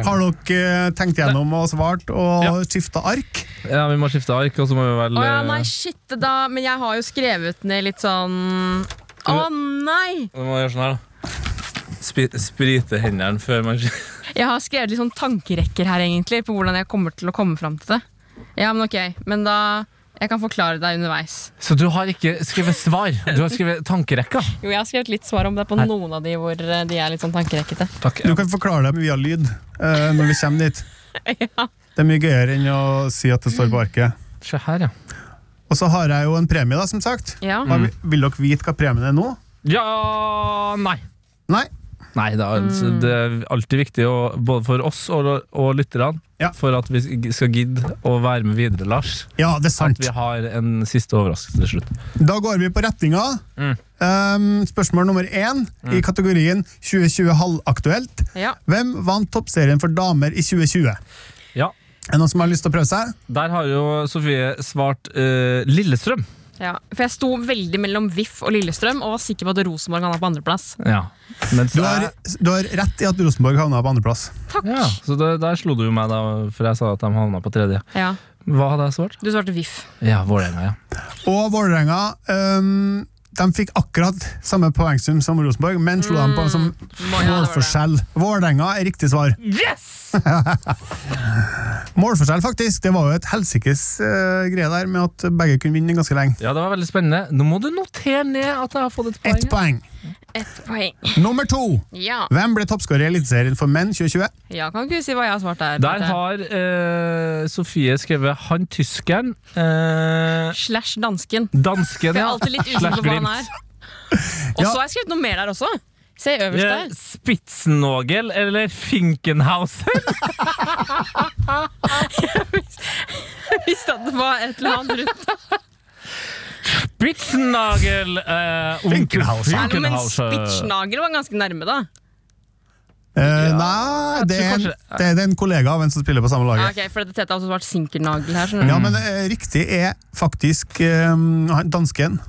[SPEAKER 7] Har dere eh, tenkt gjennom og svart og
[SPEAKER 5] Ja.
[SPEAKER 7] skifta ark?
[SPEAKER 5] Ja, vi må skifte ark, og så må vi vel
[SPEAKER 6] Å ja, nei, shit, da Men jeg har jo skrevet ned litt sånn Å nei!
[SPEAKER 5] Vi må gjøre sånn her, da. Spi sprite hendene før man [LAUGHS]
[SPEAKER 6] Jeg har skrevet litt sånn tankerekker her, egentlig, på hvordan jeg kommer til å komme fram til det. Ja, men ok, men da Jeg kan forklare deg underveis.
[SPEAKER 5] Så du har ikke skrevet svar, du har skrevet tankerekka?
[SPEAKER 6] Jo, jeg har skrevet litt svar om det på noen av de hvor eh, de er litt sånn [LAUGHS] tankerekkete.
[SPEAKER 5] Takk.
[SPEAKER 7] Du kan forklare dem via lyd eh, når vi kommer dit. Det er mye gøyere enn å si at det står på arket.
[SPEAKER 5] Se her, ja.
[SPEAKER 7] Og så har jeg jo en premie, da, som sagt.
[SPEAKER 6] Ja.
[SPEAKER 7] Hva, vil- vil dere vite hva premien er nå?
[SPEAKER 5] Ja Nei.
[SPEAKER 7] Nei?
[SPEAKER 5] Nei, det er, altså, det er alltid viktig, å, både for oss og, og lytterne,
[SPEAKER 7] Ja.
[SPEAKER 5] for at vi skal gidde å være med videre, Lars.
[SPEAKER 7] Ja, det er sant.
[SPEAKER 5] At vi har en siste overraskelse til slutt.
[SPEAKER 7] Da går vi på retninga.
[SPEAKER 5] Mm.
[SPEAKER 7] Um, spørsmål nummer én i kategorien 2020 halvaktuelt.
[SPEAKER 6] Ja.
[SPEAKER 7] Hvem vant toppserien for damer i 2020?
[SPEAKER 5] Ja.
[SPEAKER 7] Er det noen som har lyst til å prøve seg?
[SPEAKER 5] Der har jo Sofie svart eh, Lillestrøm.
[SPEAKER 6] Ja, for jeg sto veldig mellom VIF og Lillestrøm og var sikker på at Rosenborg havna på andreplass.
[SPEAKER 5] Ja. Mens
[SPEAKER 7] Du har,
[SPEAKER 5] jeg-
[SPEAKER 7] du har rett i at Rosenborg havna på andreplass.
[SPEAKER 6] Takk!
[SPEAKER 5] ja, så da, der slo du jo meg, da, for jeg sa at de havna på tredje.
[SPEAKER 6] Ja,
[SPEAKER 5] Hva hadde jeg svart?
[SPEAKER 6] Du svarte VIF.
[SPEAKER 5] Ja, Vålerenga, ja.
[SPEAKER 7] Og Vålerenga øhm, de fikk akkurat samme poengsum som Rosenborg, men slo dem på en som
[SPEAKER 6] Mm, må jo ha det,
[SPEAKER 7] målforskjell. Vålerenga er riktig svar.
[SPEAKER 6] Yes!
[SPEAKER 7] Målforskjell, faktisk. Det var jo et helsikes øh, greie der med at begge kunne vinne ganske lenge.
[SPEAKER 5] [LAUGHS] Ja, det var veldig spennende. Nå må du notere ned at jeg har fått et poeng.
[SPEAKER 7] Ett poeng.
[SPEAKER 6] Ett poeng.
[SPEAKER 7] Nummer to.
[SPEAKER 6] Ja.
[SPEAKER 7] Hvem ble toppskårer i Eliteserien for menn 2020?
[SPEAKER 6] Jeg kan ikke si hva jeg har svart der.
[SPEAKER 5] Der har eh, Sofie skrevet 'han tyskeren'. Eh,
[SPEAKER 6] Slash dansken.
[SPEAKER 5] dansken,
[SPEAKER 6] For [LAUGHS] jeg er
[SPEAKER 5] ja.
[SPEAKER 6] alltid litt
[SPEAKER 5] Slash
[SPEAKER 6] usikker på hva han
[SPEAKER 5] Glimt.
[SPEAKER 6] er. Og så har jeg skrevet noe mer der også. Se øverst
[SPEAKER 5] Eh,
[SPEAKER 6] [LAUGHS] der.
[SPEAKER 5] Spitznagel eller Finkenhauser?
[SPEAKER 6] [LAUGHS] Visste at det var et eller annet
[SPEAKER 5] [LAUGHS]
[SPEAKER 6] rundt
[SPEAKER 5] Spitznagel eh, onkel
[SPEAKER 7] Finkenhauser.
[SPEAKER 6] der. Men
[SPEAKER 5] Finkenhauser.
[SPEAKER 6] Spitznagel var ganske nærme, da.
[SPEAKER 7] Eh, nei, det er, en,
[SPEAKER 5] tror kanskje-
[SPEAKER 7] det er en kollega av en som spiller på samme
[SPEAKER 6] Ja,
[SPEAKER 7] laget.
[SPEAKER 6] ok, for dette har også svart sinkernagel her. skjønner du.
[SPEAKER 7] Ja, men eh, riktig er faktisk øhm, han dansken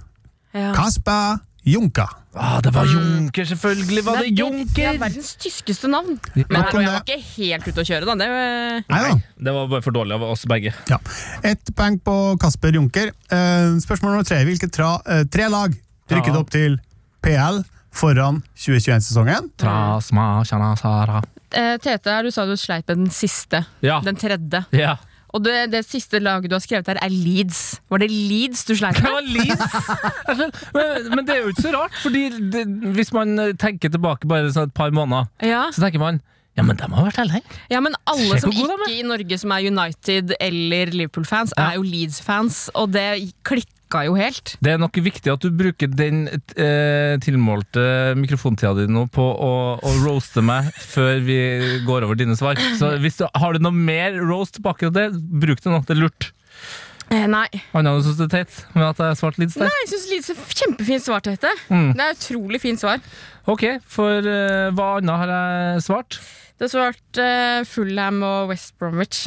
[SPEAKER 6] Ja.
[SPEAKER 7] Kasper Junka.
[SPEAKER 5] Ah, det var Junker, selvfølgelig var det
[SPEAKER 6] Det er-
[SPEAKER 5] Junker!
[SPEAKER 6] Ja, verdens tyskeste navn.
[SPEAKER 5] Ja.
[SPEAKER 6] Men
[SPEAKER 7] Nok
[SPEAKER 6] her
[SPEAKER 7] om
[SPEAKER 6] var jeg
[SPEAKER 7] det.
[SPEAKER 6] var ikke helt ute å kjøre, da. Det, var-
[SPEAKER 7] Nei da.
[SPEAKER 5] Det var bare for dårlig av oss begge.
[SPEAKER 7] Ja. Ett poeng på Kasper Junker. Eh, spørsmål nummer tre. Hvilke tra, eh, tre lag rykket
[SPEAKER 5] Ja.
[SPEAKER 7] opp til PL foran 2021-sesongen?
[SPEAKER 5] Trasma, tjana, sara.
[SPEAKER 6] Eh, Tete, du sa du sleit med den siste.
[SPEAKER 5] Ja.
[SPEAKER 6] Den tredje.
[SPEAKER 5] Ja.
[SPEAKER 6] Og det, det siste laget du har skrevet her, er Leeds. Var [LAUGHS] det Leeds du sleit
[SPEAKER 5] Det
[SPEAKER 6] med?
[SPEAKER 5] var Leeds! Men, men det er jo ikke så rart, fordi det, hvis man eh, tenker tilbake bare sånn et par måneder,
[SPEAKER 6] Ja.
[SPEAKER 5] så tenker man ja, men de har vært heldige.
[SPEAKER 6] ja, men alle
[SPEAKER 5] Se
[SPEAKER 6] som
[SPEAKER 5] hvor god de
[SPEAKER 6] ikke i Norge som er United eller Liverpool-fans,
[SPEAKER 5] Ja.
[SPEAKER 6] er jo Leeds-fans, og det klikka jo helt.
[SPEAKER 5] Det er nok viktig at du bruker den eh, tilmålte mikrofontida di nå på å, å roaste meg før vi går over dine svar. Så hvis du, har du noe mer roast på akkurat det, bruk det nå. Det er lurt.
[SPEAKER 6] Eh, nei.
[SPEAKER 5] Annet enn å synes det er teit med at jeg svarte litt sterkt.
[SPEAKER 6] Jeg syns Leeds er kjempefint svar, Tete.
[SPEAKER 5] Mm.
[SPEAKER 6] Det er utrolig fint svar.
[SPEAKER 5] Ok, for eh, hva annet har jeg svart?
[SPEAKER 6] Du har svart eh, Fulham og West Bromwich.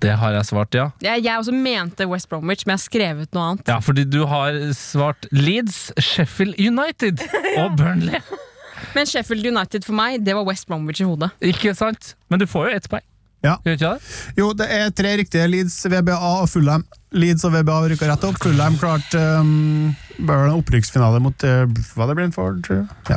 [SPEAKER 5] Det har jeg svart, ja.
[SPEAKER 6] Jeg, jeg også mente West Bromwich, men jeg har skrevet noe annet.
[SPEAKER 5] Ja, fordi du har svart Leeds, Sheffield
[SPEAKER 6] [LAUGHS]
[SPEAKER 5] United og Burnley.
[SPEAKER 6] Men Sheffield United for meg, det var West Bromwich i hodet.
[SPEAKER 5] Ikke sant? Men du får jo ett poeng.
[SPEAKER 7] Ja.
[SPEAKER 5] Gjør ikke det?
[SPEAKER 7] Jo, det er tre riktige. Leeds, VBA og Fulham. Leeds og VBA rykka rett opp. Fulham klarte um, opprykksfinale mot eh, Var det Brentford? Ja.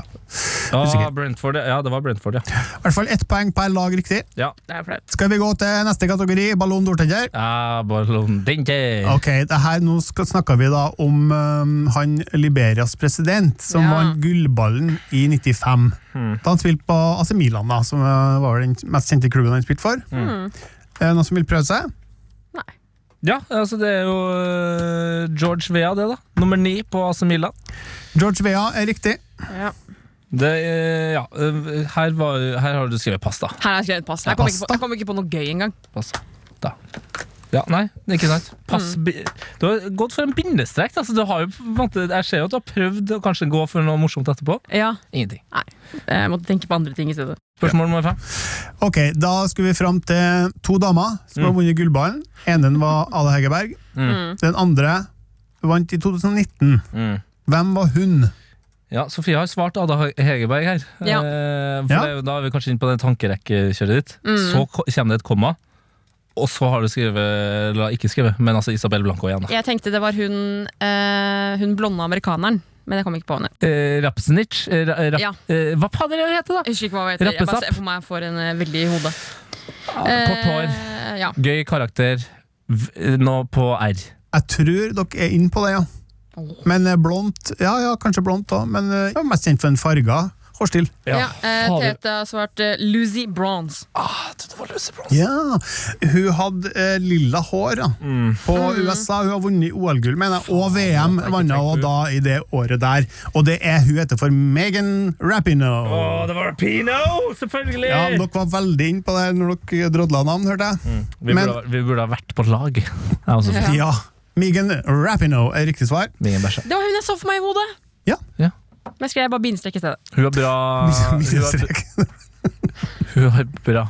[SPEAKER 5] Ja,
[SPEAKER 7] Usikker.
[SPEAKER 5] Ah, Brentford, ja. ja, det var Brentford, ja.
[SPEAKER 7] I hvert fall ett poeng per lag riktig.
[SPEAKER 5] ja.
[SPEAKER 6] Det er flaut.
[SPEAKER 7] Skal vi gå til neste kategori, ballon d'ortenner?
[SPEAKER 5] Ah, Ballon d'Or.
[SPEAKER 7] Ok, det her, Nå skal- snakker vi da om um, han Liberias president, som
[SPEAKER 6] Ja.
[SPEAKER 7] vant gullballen i 95. Da han spilte på AC Milan, da, som uh, var den mest kjente klubben han spilte for. Er det noen som vil prøve seg?
[SPEAKER 5] Ja, altså det er jo øh, George Vea, det, da. Nummer ni på AC Milan.
[SPEAKER 7] George Vea er riktig.
[SPEAKER 5] Det, øh, ja, øh, her, var, her har du skrevet pasta.
[SPEAKER 6] Her har jeg skrevet pass. Jeg kom, ikke på, jeg kom ikke på noe gøy engang.
[SPEAKER 5] pasta. Da. Ja, nei, det er ikke sant. Pass,
[SPEAKER 6] Mm.
[SPEAKER 5] bi- Du har gått for en bindestrek. Altså, du har jo, på en måte, jeg ser jo at du har prøvd å kanskje gå for noe morsomt etterpå.
[SPEAKER 6] Ja,
[SPEAKER 5] Ingenting.
[SPEAKER 6] jeg måtte tenke på andre ting i stedet.
[SPEAKER 5] Spørsmål nummer fem.
[SPEAKER 7] Ok, Da skulle vi fram til to damer som har vunnet gullballen. Ene var Ada Hegerberg. Den andre vant i 2019.
[SPEAKER 5] Mm.
[SPEAKER 7] Hvem var hun?
[SPEAKER 5] Ja, Sofie har svart Ada Hegerberg her.
[SPEAKER 6] Ja.
[SPEAKER 5] Eh, for
[SPEAKER 7] Ja.
[SPEAKER 5] det er jo- Da er vi kanskje inne på det tankerekkekjøret ditt.
[SPEAKER 6] Mm.
[SPEAKER 5] Så ko- kommer det et komma, og så har du skrevet, eller ikke skrevet, men altså Isabel Blanco igjen. da.
[SPEAKER 6] Jeg tenkte det var hun, eh, hun blonde amerikaneren, men jeg kom ikke på henne.
[SPEAKER 5] Eh, Rapsnitch eh, ra, rap,
[SPEAKER 6] Ja.
[SPEAKER 5] eh, Hva fader er det hun heter, da?
[SPEAKER 6] Jeg husker ikke hva hun heter. Jeg bare
[SPEAKER 5] Rappesapp.
[SPEAKER 6] ser for meg jeg får en eh, veldig i hodet.
[SPEAKER 5] Kort hår,
[SPEAKER 6] Eh, ja.
[SPEAKER 5] gøy karakter, v eh, nå på R.
[SPEAKER 7] Jeg tror dere er inne på det, ja. Men eh, blondt Ja, ja, kanskje blondt òg, men eh, jeg var mest kjent for den farga hårstil.
[SPEAKER 6] Ja, eh,
[SPEAKER 5] fader.
[SPEAKER 6] Tete har svart eh, Lucy Bronze.
[SPEAKER 5] Det var Lucy Bronze.
[SPEAKER 7] Ja. Hun hadde eh, lilla hår ja. på USA. Hun har vunnet OL-gull, mener jeg, og VM
[SPEAKER 5] Mm. jeg
[SPEAKER 7] vant
[SPEAKER 5] tenkt på
[SPEAKER 7] hun
[SPEAKER 5] det.
[SPEAKER 7] da i det året der. Og det er hun heter for Megan
[SPEAKER 5] Å,
[SPEAKER 7] Rapinoe.
[SPEAKER 5] det var Pino! Selvfølgelig!
[SPEAKER 7] Ja, dere var veldig inne på det når dere drodla navn, hørte jeg.
[SPEAKER 5] vi,
[SPEAKER 7] men-
[SPEAKER 5] burde, ha- vi burde ha vært på lag. Jeg er
[SPEAKER 6] Altså,
[SPEAKER 5] også
[SPEAKER 7] Ja. Megan Rapinoe er riktig svar.
[SPEAKER 5] Mingen Bæsje.
[SPEAKER 6] Det var hun jeg så for meg i hodet!
[SPEAKER 7] Ja.
[SPEAKER 5] Ja.
[SPEAKER 6] Men jeg skrev bare bindestrek i stedet.
[SPEAKER 5] Hun har
[SPEAKER 7] [LAUGHS]
[SPEAKER 5] bra Hun har,
[SPEAKER 7] Minnestrek.
[SPEAKER 5] hun har bra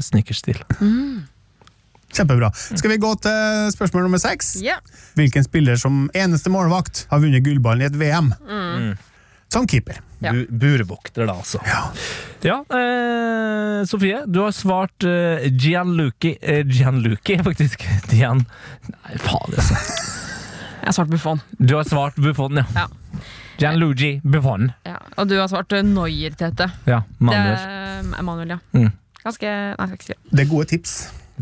[SPEAKER 5] sneakerstil.
[SPEAKER 7] Kjempebra. Skal vi gå til spørsmål nummer seks?
[SPEAKER 6] Ja.
[SPEAKER 7] Hvilken spiller som eneste målvakt har vunnet gullballen i et VM? Som keeper.
[SPEAKER 6] Ja.
[SPEAKER 5] Bu burvokter, da, altså. Ja, eh, Sofie, du har svart eh, Gianluki eh, Gianluki, faktisk. [LAUGHS] Gian... Nei, faen, altså.
[SPEAKER 6] Jeg har svart Buffon.
[SPEAKER 5] Du har svart Buffon, ja.
[SPEAKER 6] Ja.
[SPEAKER 5] Gianluigi Buffon.
[SPEAKER 6] Ja. Og du har svart eh, Neuer, Tete.
[SPEAKER 5] Ja,
[SPEAKER 6] Det
[SPEAKER 5] Manuel.
[SPEAKER 6] er Emanuel, ja.
[SPEAKER 5] Mm.
[SPEAKER 6] Ganske Nei, jeg skal ikke si det.
[SPEAKER 7] Det er gode tips.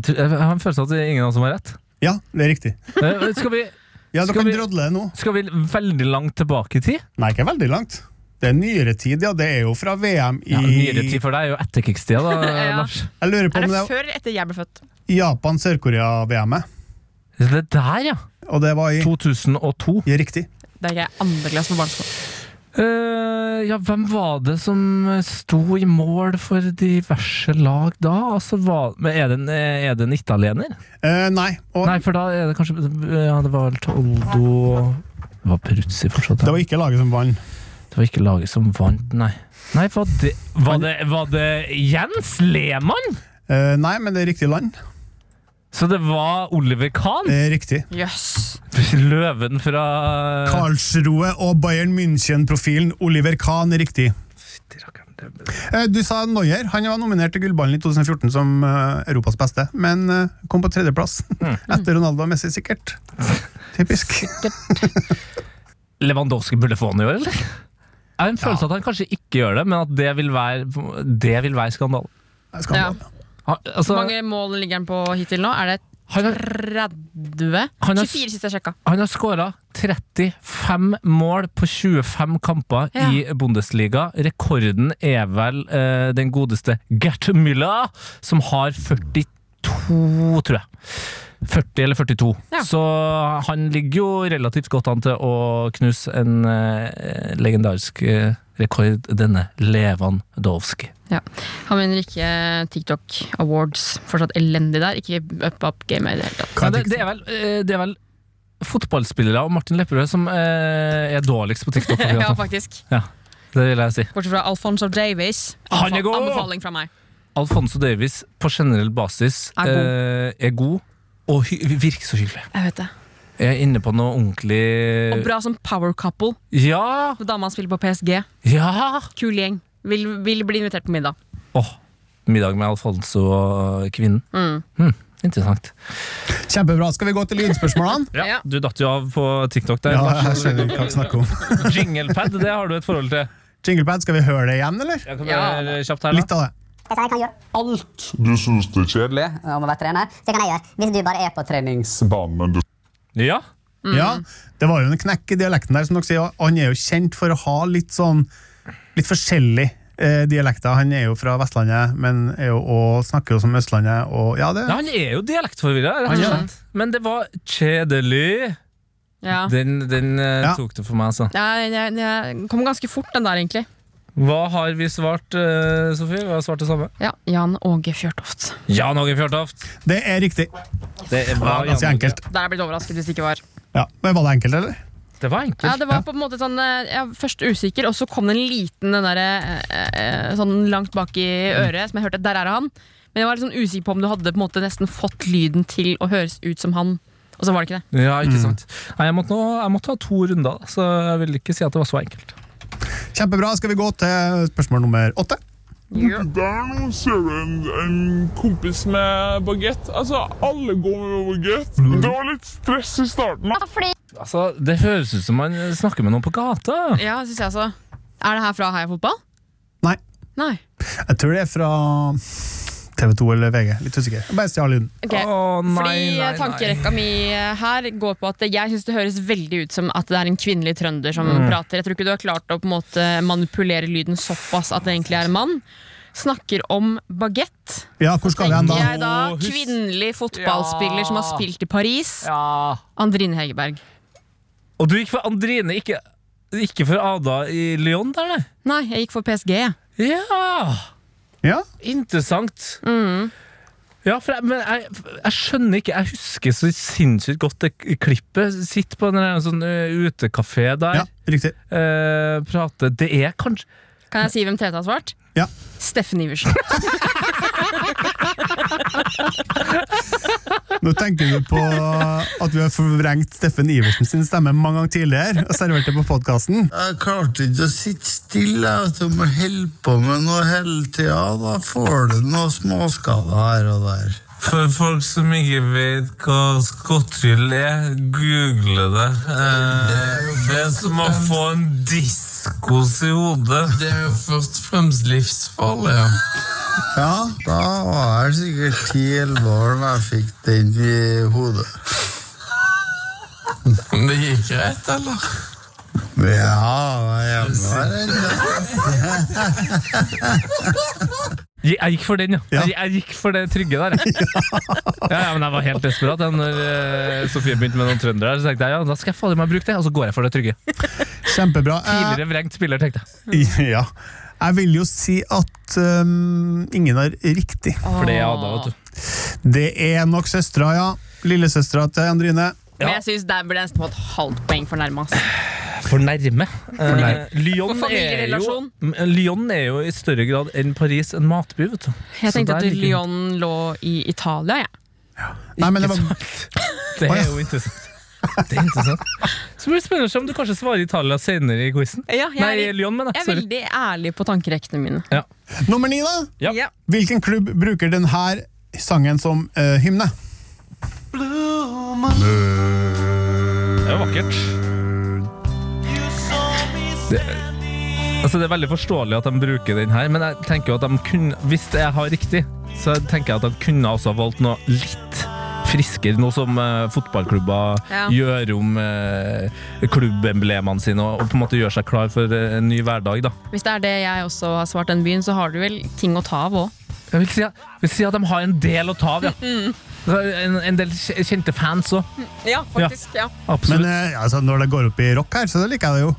[SPEAKER 5] Jeg tror- Jeg har en følelse av at det er ingen av oss som har rett.
[SPEAKER 7] Ja, det er riktig.
[SPEAKER 5] Eh, Skal vi,
[SPEAKER 7] Ja, Du
[SPEAKER 5] Skal
[SPEAKER 7] kan
[SPEAKER 5] vi-
[SPEAKER 7] drodle det nå.
[SPEAKER 5] skal vi veldig langt tilbake i tid?
[SPEAKER 7] Nei, ikke veldig langt. Det er nyere tid, ja. Det er jo fra VM i
[SPEAKER 5] Ja, nyere tid for deg er jo etterkrigstida, da,
[SPEAKER 6] [LAUGHS] Ja.
[SPEAKER 5] Lars.
[SPEAKER 7] Jeg lurer på
[SPEAKER 6] Er
[SPEAKER 7] om
[SPEAKER 6] det
[SPEAKER 7] det
[SPEAKER 6] før eller etter jeg ble født?
[SPEAKER 7] var Japan-Sør-Korea-VM-et.
[SPEAKER 5] Det der, ja!
[SPEAKER 7] Og det var i
[SPEAKER 5] 2002.
[SPEAKER 7] Ja, riktig.
[SPEAKER 6] Det er ikke jeg andre klasse på barneskolen.
[SPEAKER 5] Eh, ja, hvem var det som eh, sto i mål for diverse lag da? Altså, hva, men er det, en, er det en italiener?
[SPEAKER 7] Eh, nei. Og
[SPEAKER 5] Nei, for da er det kanskje eh, Ja, det var vel Toldo og- Det var Peruzzi fortsatt.
[SPEAKER 7] det
[SPEAKER 5] Ja.
[SPEAKER 7] var ikke laget som vant.
[SPEAKER 5] Det var ikke laget som vant, nei. Nei, var det, var det, var det Jens Lehmann?
[SPEAKER 7] Eh, nei, men det er riktig land.
[SPEAKER 5] Så det var Oliver Kahn?
[SPEAKER 7] Det er riktig.
[SPEAKER 6] Jøss. Yes.
[SPEAKER 5] Løven fra
[SPEAKER 7] Karlsroe og Bayern München-profilen Oliver Kahn er riktig. Eh, Du sa Neuer. Han var nominert til gullballen i 2014 som eh, Europas beste, men eh, kom på tredjeplass. [LAUGHS] Etter Ronaldo og Messi, sikkert.
[SPEAKER 5] [LAUGHS]
[SPEAKER 7] Typisk.
[SPEAKER 5] Lewandowski burde få han i år, eller? Jeg har en følelse at han kanskje ikke gjør det, men at det vil være, det vil være skandale.
[SPEAKER 6] Ja.
[SPEAKER 7] Skandale.
[SPEAKER 5] Han, altså,
[SPEAKER 6] Hvor mange mål ligger han på hittil nå? Er det
[SPEAKER 5] han har,
[SPEAKER 6] 30?
[SPEAKER 5] Han har-
[SPEAKER 6] 24 sist jeg sjekka.
[SPEAKER 5] han har skåra 35 mål på 25 kamper i Bundesliga. Rekorden er vel eh, den godeste Gert Müller, som har 42, tror jeg. 40 eller 42.
[SPEAKER 6] Ja.
[SPEAKER 5] Så han ligger jo relativt godt an til å knuse en eh, legendarisk eh, rekord, denne Lewandowski.
[SPEAKER 6] Ja. Han vinner ikke TikTok Awards. Fortsatt elendig der. Ikke up up gamet i det hele tatt.
[SPEAKER 7] Hva
[SPEAKER 5] Ja,
[SPEAKER 7] er
[SPEAKER 5] det,
[SPEAKER 7] det-
[SPEAKER 5] det, er vel, eh, det er vel fotballspillere og Martin Lepperød som eh, er dårligst på TikTok. akkurat
[SPEAKER 6] [LAUGHS] Ja,
[SPEAKER 5] nå.
[SPEAKER 6] faktisk.
[SPEAKER 5] det vil jeg si.
[SPEAKER 6] Bortsett fra Alfonso Davies.
[SPEAKER 5] Han er
[SPEAKER 6] Anbefa-
[SPEAKER 5] god!
[SPEAKER 6] Anbefaling fra meg.
[SPEAKER 5] Alfonso Davies på generell basis
[SPEAKER 6] Er god.
[SPEAKER 5] eh, er god og hy virker så hyggelig.
[SPEAKER 6] Jeg vet det.
[SPEAKER 5] Jeg er inne på noe ordentlig
[SPEAKER 6] Og bra som power couple.
[SPEAKER 5] Ja!
[SPEAKER 6] Når dama spiller på PSG.
[SPEAKER 5] Ja!
[SPEAKER 6] Kul gjeng. Vil, vil bli invitert på middag.
[SPEAKER 5] Åh, middag med Alfonso og kvinnen.
[SPEAKER 6] Mm.
[SPEAKER 5] Hm, interessant.
[SPEAKER 7] Kjempebra. Skal vi gå til
[SPEAKER 6] [LAUGHS]
[SPEAKER 7] lydspørsmålene?
[SPEAKER 6] Ja.
[SPEAKER 5] Du datt jo av på TikTok der.
[SPEAKER 7] Ja,
[SPEAKER 5] Lars.
[SPEAKER 7] jeg skjønner ikke hva vi snakker om. [LAUGHS]
[SPEAKER 5] Jinglepad, det har du et forhold til.
[SPEAKER 7] Jinglepad, skal vi høre det igjen, eller?
[SPEAKER 5] Jeg kan
[SPEAKER 6] Ja.
[SPEAKER 5] bare kjapt her, da.
[SPEAKER 7] Litt av det.
[SPEAKER 9] Jeg sa sånn jeg kan gjøre alt
[SPEAKER 10] Du syns det er kjedelig?
[SPEAKER 9] mulig om å være trener, så kan jeg gjøre hvis du bare er på trenings...
[SPEAKER 10] Banen, men du
[SPEAKER 5] Ja. Mm.
[SPEAKER 7] Ja, Det var jo en knekk i dialekten der, som dere sier. og Han er jo kjent for å ha litt sånn litt forskjellig eh, dialekter. Han er jo fra Vestlandet, men er jo, og snakker jo som Østlandet, og ja, det
[SPEAKER 5] Ja, han er jo dialektforvirra, rett og
[SPEAKER 7] Han er
[SPEAKER 5] slett. Men det var kjedelig.
[SPEAKER 6] Ja.
[SPEAKER 5] Den, den eh,
[SPEAKER 7] Ja.
[SPEAKER 5] tok det for meg, altså.
[SPEAKER 6] Jeg, jeg, jeg kom ganske fort, den der, egentlig.
[SPEAKER 5] Hva har vi svart, eh, Sofie? Vi har svart det samme.
[SPEAKER 6] Ja, Jan Åge Fjørtoft.
[SPEAKER 5] Jan Åge Fjørtoft.
[SPEAKER 7] Det er riktig.
[SPEAKER 5] Det
[SPEAKER 7] Ja,
[SPEAKER 5] var,
[SPEAKER 7] ganske enkelt.
[SPEAKER 6] Der er jeg blitt overrasket hvis det ikke var.
[SPEAKER 7] Ja, men Var det enkelt, eller?
[SPEAKER 5] Det var enkelt.
[SPEAKER 6] Ja, det var på en måte sånn eh, ja, Først usikker, og så kom det en liten den derre eh, eh, Sånn langt bak i øret, som jeg hørte Der er det han. Men jeg var litt sånn usikker på om du hadde på en måte nesten fått lyden til å høres ut som han. Og så var det ikke det.
[SPEAKER 5] Ja, ikke sant. Nei, jeg, måtte nå, jeg måtte ha to runder, da, så jeg vil ikke si at det var så enkelt.
[SPEAKER 7] Kjempebra. Skal vi gå til spørsmål nummer åtte?
[SPEAKER 2] Det er noen søren en kompis med bagett. Altså, alle går med bagett. Det var litt stress i starten.
[SPEAKER 5] Altså, Det høres ut som man snakker med noen på gata.
[SPEAKER 6] Ja, synes jeg altså Er det her fra Heia Fotball?
[SPEAKER 7] Nei.
[SPEAKER 6] Nei.
[SPEAKER 7] Jeg tror det er fra TV 2 eller VG. Litt usikker. Jeg bare stjal lyden.
[SPEAKER 6] Ok.
[SPEAKER 5] Å, nei,
[SPEAKER 6] Fordi eh,
[SPEAKER 5] nei, nei.
[SPEAKER 6] tankerekka mi eh, her går på at jeg syns det høres veldig ut som at det er en kvinnelig trønder som
[SPEAKER 5] Mm.
[SPEAKER 6] prater. Jeg tror ikke du har klart å på en måte manipulere lyden såpass at det egentlig er en mann. Snakker om bagett.
[SPEAKER 7] Ja, hvor skal vi hen
[SPEAKER 6] Tenker
[SPEAKER 7] da?
[SPEAKER 6] jeg da
[SPEAKER 5] Å, hus-
[SPEAKER 6] kvinnelig fotballspiller som har spilt i Paris.
[SPEAKER 5] Ja.
[SPEAKER 6] Andrine Hegerberg.
[SPEAKER 5] Og du gikk for Andrine, ikke, ikke for Ada i Lyon der, nei?
[SPEAKER 6] Nei, jeg gikk for PSG. jeg.
[SPEAKER 5] Ja!
[SPEAKER 7] Ja,
[SPEAKER 5] Interessant.
[SPEAKER 6] Mm.
[SPEAKER 5] Ja, for jeg, men jeg, jeg skjønner ikke Jeg husker så sinnssykt godt det k- klippet. Sitt på en eller annen sånn ø, utekafé der,
[SPEAKER 7] ja riktig.
[SPEAKER 5] eh, prate Det er kanskje
[SPEAKER 6] Kan jeg si hvem Tete har svart?
[SPEAKER 7] Ja.
[SPEAKER 6] Steffen Iversen.
[SPEAKER 7] Nå tenker du på at vi har forvrengt Steffen Iversen sin stemme mange ganger tidligere og servert det på podkasten.
[SPEAKER 11] Jeg klarte ikke å sitte stille. Jeg vet du, må holde på med noe hele tida. Da får du noen småskader her og der.
[SPEAKER 12] For folk som ikke vet hva skotthyll er, google det. Eh, det er som å få en diskos i hodet.
[SPEAKER 11] Det er jo først og fremst livsfarlig, ja. Ja, da var jeg sikkert ti-elleve år da jeg fikk den i hodet.
[SPEAKER 12] Det gikk greit, eller?
[SPEAKER 11] Ja, jeg var
[SPEAKER 5] Jeg jeg gikk for den, ja. Jeg, jeg gikk for det trygge der. jeg. Ja, ja, men jeg var helt desperat. da Når eh, Sofie begynte med noen trøndere, her, så tenkte jeg ja, da skal jeg fader meg bruke det. Og så går jeg for det trygge.
[SPEAKER 7] Kjempebra. Eh,
[SPEAKER 5] Tidligere vrengt spiller, tenkte jeg.
[SPEAKER 7] Ja. Jeg vil jo si at øhm, ingen har riktig.
[SPEAKER 5] [LAUGHS] For det jeg hadde, vet du.
[SPEAKER 7] Det er nok søstera, ja. Lillesøstera til Andrine.
[SPEAKER 6] Men jeg synes der burde jeg nesten få et halvt poeng for nærme. ass.
[SPEAKER 5] For nærme. Eh, Lyon, er
[SPEAKER 6] For
[SPEAKER 5] jo,
[SPEAKER 6] familierelasjon.
[SPEAKER 5] men Lyon er jo i større grad enn Paris en matby, vet du.
[SPEAKER 6] Jeg
[SPEAKER 5] Så
[SPEAKER 6] tenkte
[SPEAKER 5] der
[SPEAKER 6] at
[SPEAKER 5] ligger-
[SPEAKER 6] Lyon lå i Italia, jeg.
[SPEAKER 7] Nei, men det var,
[SPEAKER 5] Det
[SPEAKER 7] Å, ja.
[SPEAKER 5] er jo interessant. Det er interessant. Så blir det spennende å se om du kanskje svarer Italia senere i quizen.
[SPEAKER 6] Ja, jeg,
[SPEAKER 5] Nei,
[SPEAKER 6] er,
[SPEAKER 5] Lyon, mener
[SPEAKER 6] jeg
[SPEAKER 5] jeg.
[SPEAKER 6] er
[SPEAKER 5] Sorry.
[SPEAKER 6] veldig ærlig på tankerekkene mine.
[SPEAKER 7] nummer ni, da?
[SPEAKER 5] Ja.
[SPEAKER 6] Ja.
[SPEAKER 7] Hvilken klubb bruker denne sangen som øh, hymne?
[SPEAKER 5] Det er jo vakkert. Det, altså det er veldig forståelig at de bruker den her, men jeg tenker jo at de kunne, hvis jeg har riktig, så tenker jeg at de kunne også ha valgt noe litt friskere, noe som eh, fotballklubber
[SPEAKER 6] Ja.
[SPEAKER 5] gjør om eh, klubbemblemene sine, og, og på en måte gjør seg klar for eh, en ny hverdag, da.
[SPEAKER 6] Hvis det er det jeg også har svart den byen, så har du vel ting å ta av òg.
[SPEAKER 5] Jeg vil si, at- jeg vil si at de har en del å ta av, ja. En, en del kj- kjente fans òg.
[SPEAKER 6] Ja,
[SPEAKER 5] faktisk,
[SPEAKER 6] Ja.
[SPEAKER 7] Men
[SPEAKER 5] Absolutt.
[SPEAKER 7] øh, altså, når det går opp i rock her, så liker jeg det jo.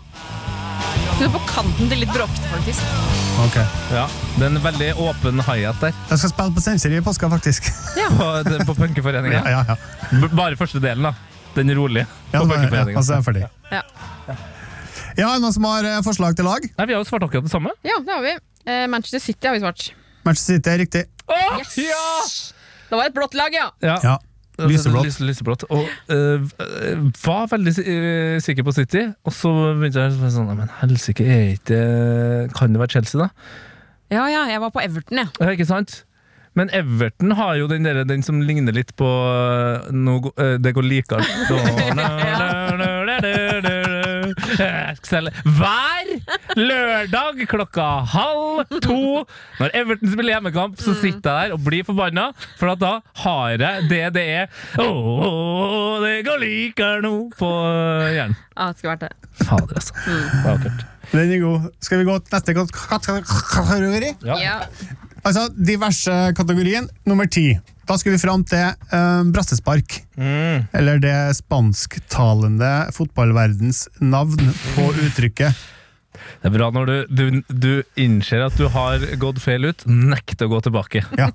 [SPEAKER 6] Du er på kanten til litt bråkete, faktisk.
[SPEAKER 5] ja. Det er en veldig åpen hi-hat der
[SPEAKER 7] Jeg skal spille på Sensory i påska, faktisk.
[SPEAKER 5] på, på punkeforeninga.
[SPEAKER 7] [LAUGHS] Ja, ja, ja.
[SPEAKER 5] B- Bare første delen, da. Den rolige.
[SPEAKER 7] Ja,
[SPEAKER 5] på
[SPEAKER 7] det var-
[SPEAKER 5] Bankeforeningen.
[SPEAKER 7] ja, altså, jeg er ferdig.
[SPEAKER 6] Ja.
[SPEAKER 7] Ja, er det noen som har eh, forslag til lag?
[SPEAKER 5] Nei, Vi har jo svart akkurat det samme.
[SPEAKER 6] Ja, det har vi. Eh, Manchester City har vi svart.
[SPEAKER 7] Manchester City er riktig.
[SPEAKER 5] Åh,
[SPEAKER 6] Yes! Det var et blått lag, ja.
[SPEAKER 5] Ja. altså,
[SPEAKER 7] Ja. Lyseblått.
[SPEAKER 5] Lys, lyseblått. Og øh, øh, var veldig si- øh, sikker på City, og så begynte jeg å være sånn «Nei, Men helsike, er ikke Kan det være Chelsea, da?
[SPEAKER 6] Ja, ja, jeg var på Everton, jeg.
[SPEAKER 5] Ja, ikke sant? Men Everton har jo den, der, den som ligner litt på øh, nå gå- øh, Det går likere. Excel. Hver lørdag klokka halv to, når Everton spiller hjemmekamp, så sitter jeg der og blir forbanna, for at da har jeg det det er Å, det går likere nå på øh, hjernen.
[SPEAKER 6] Ja, det skulle vært det.
[SPEAKER 5] Fader, altså. Det var akkurat.
[SPEAKER 7] Den er god. Skal vi gå til neste kat- kat- kat- kategori?
[SPEAKER 5] Ja.
[SPEAKER 6] Ja.
[SPEAKER 7] Altså, diverse kategorien, nummer ti. Da skal vi fram til eh, brassespark.
[SPEAKER 5] Mm.
[SPEAKER 7] Eller det spansktalende fotballverdens navn på uttrykket.
[SPEAKER 5] Det er bra når du, du, du innser at du har gått feil ut. Nekt å gå tilbake.
[SPEAKER 7] Ja.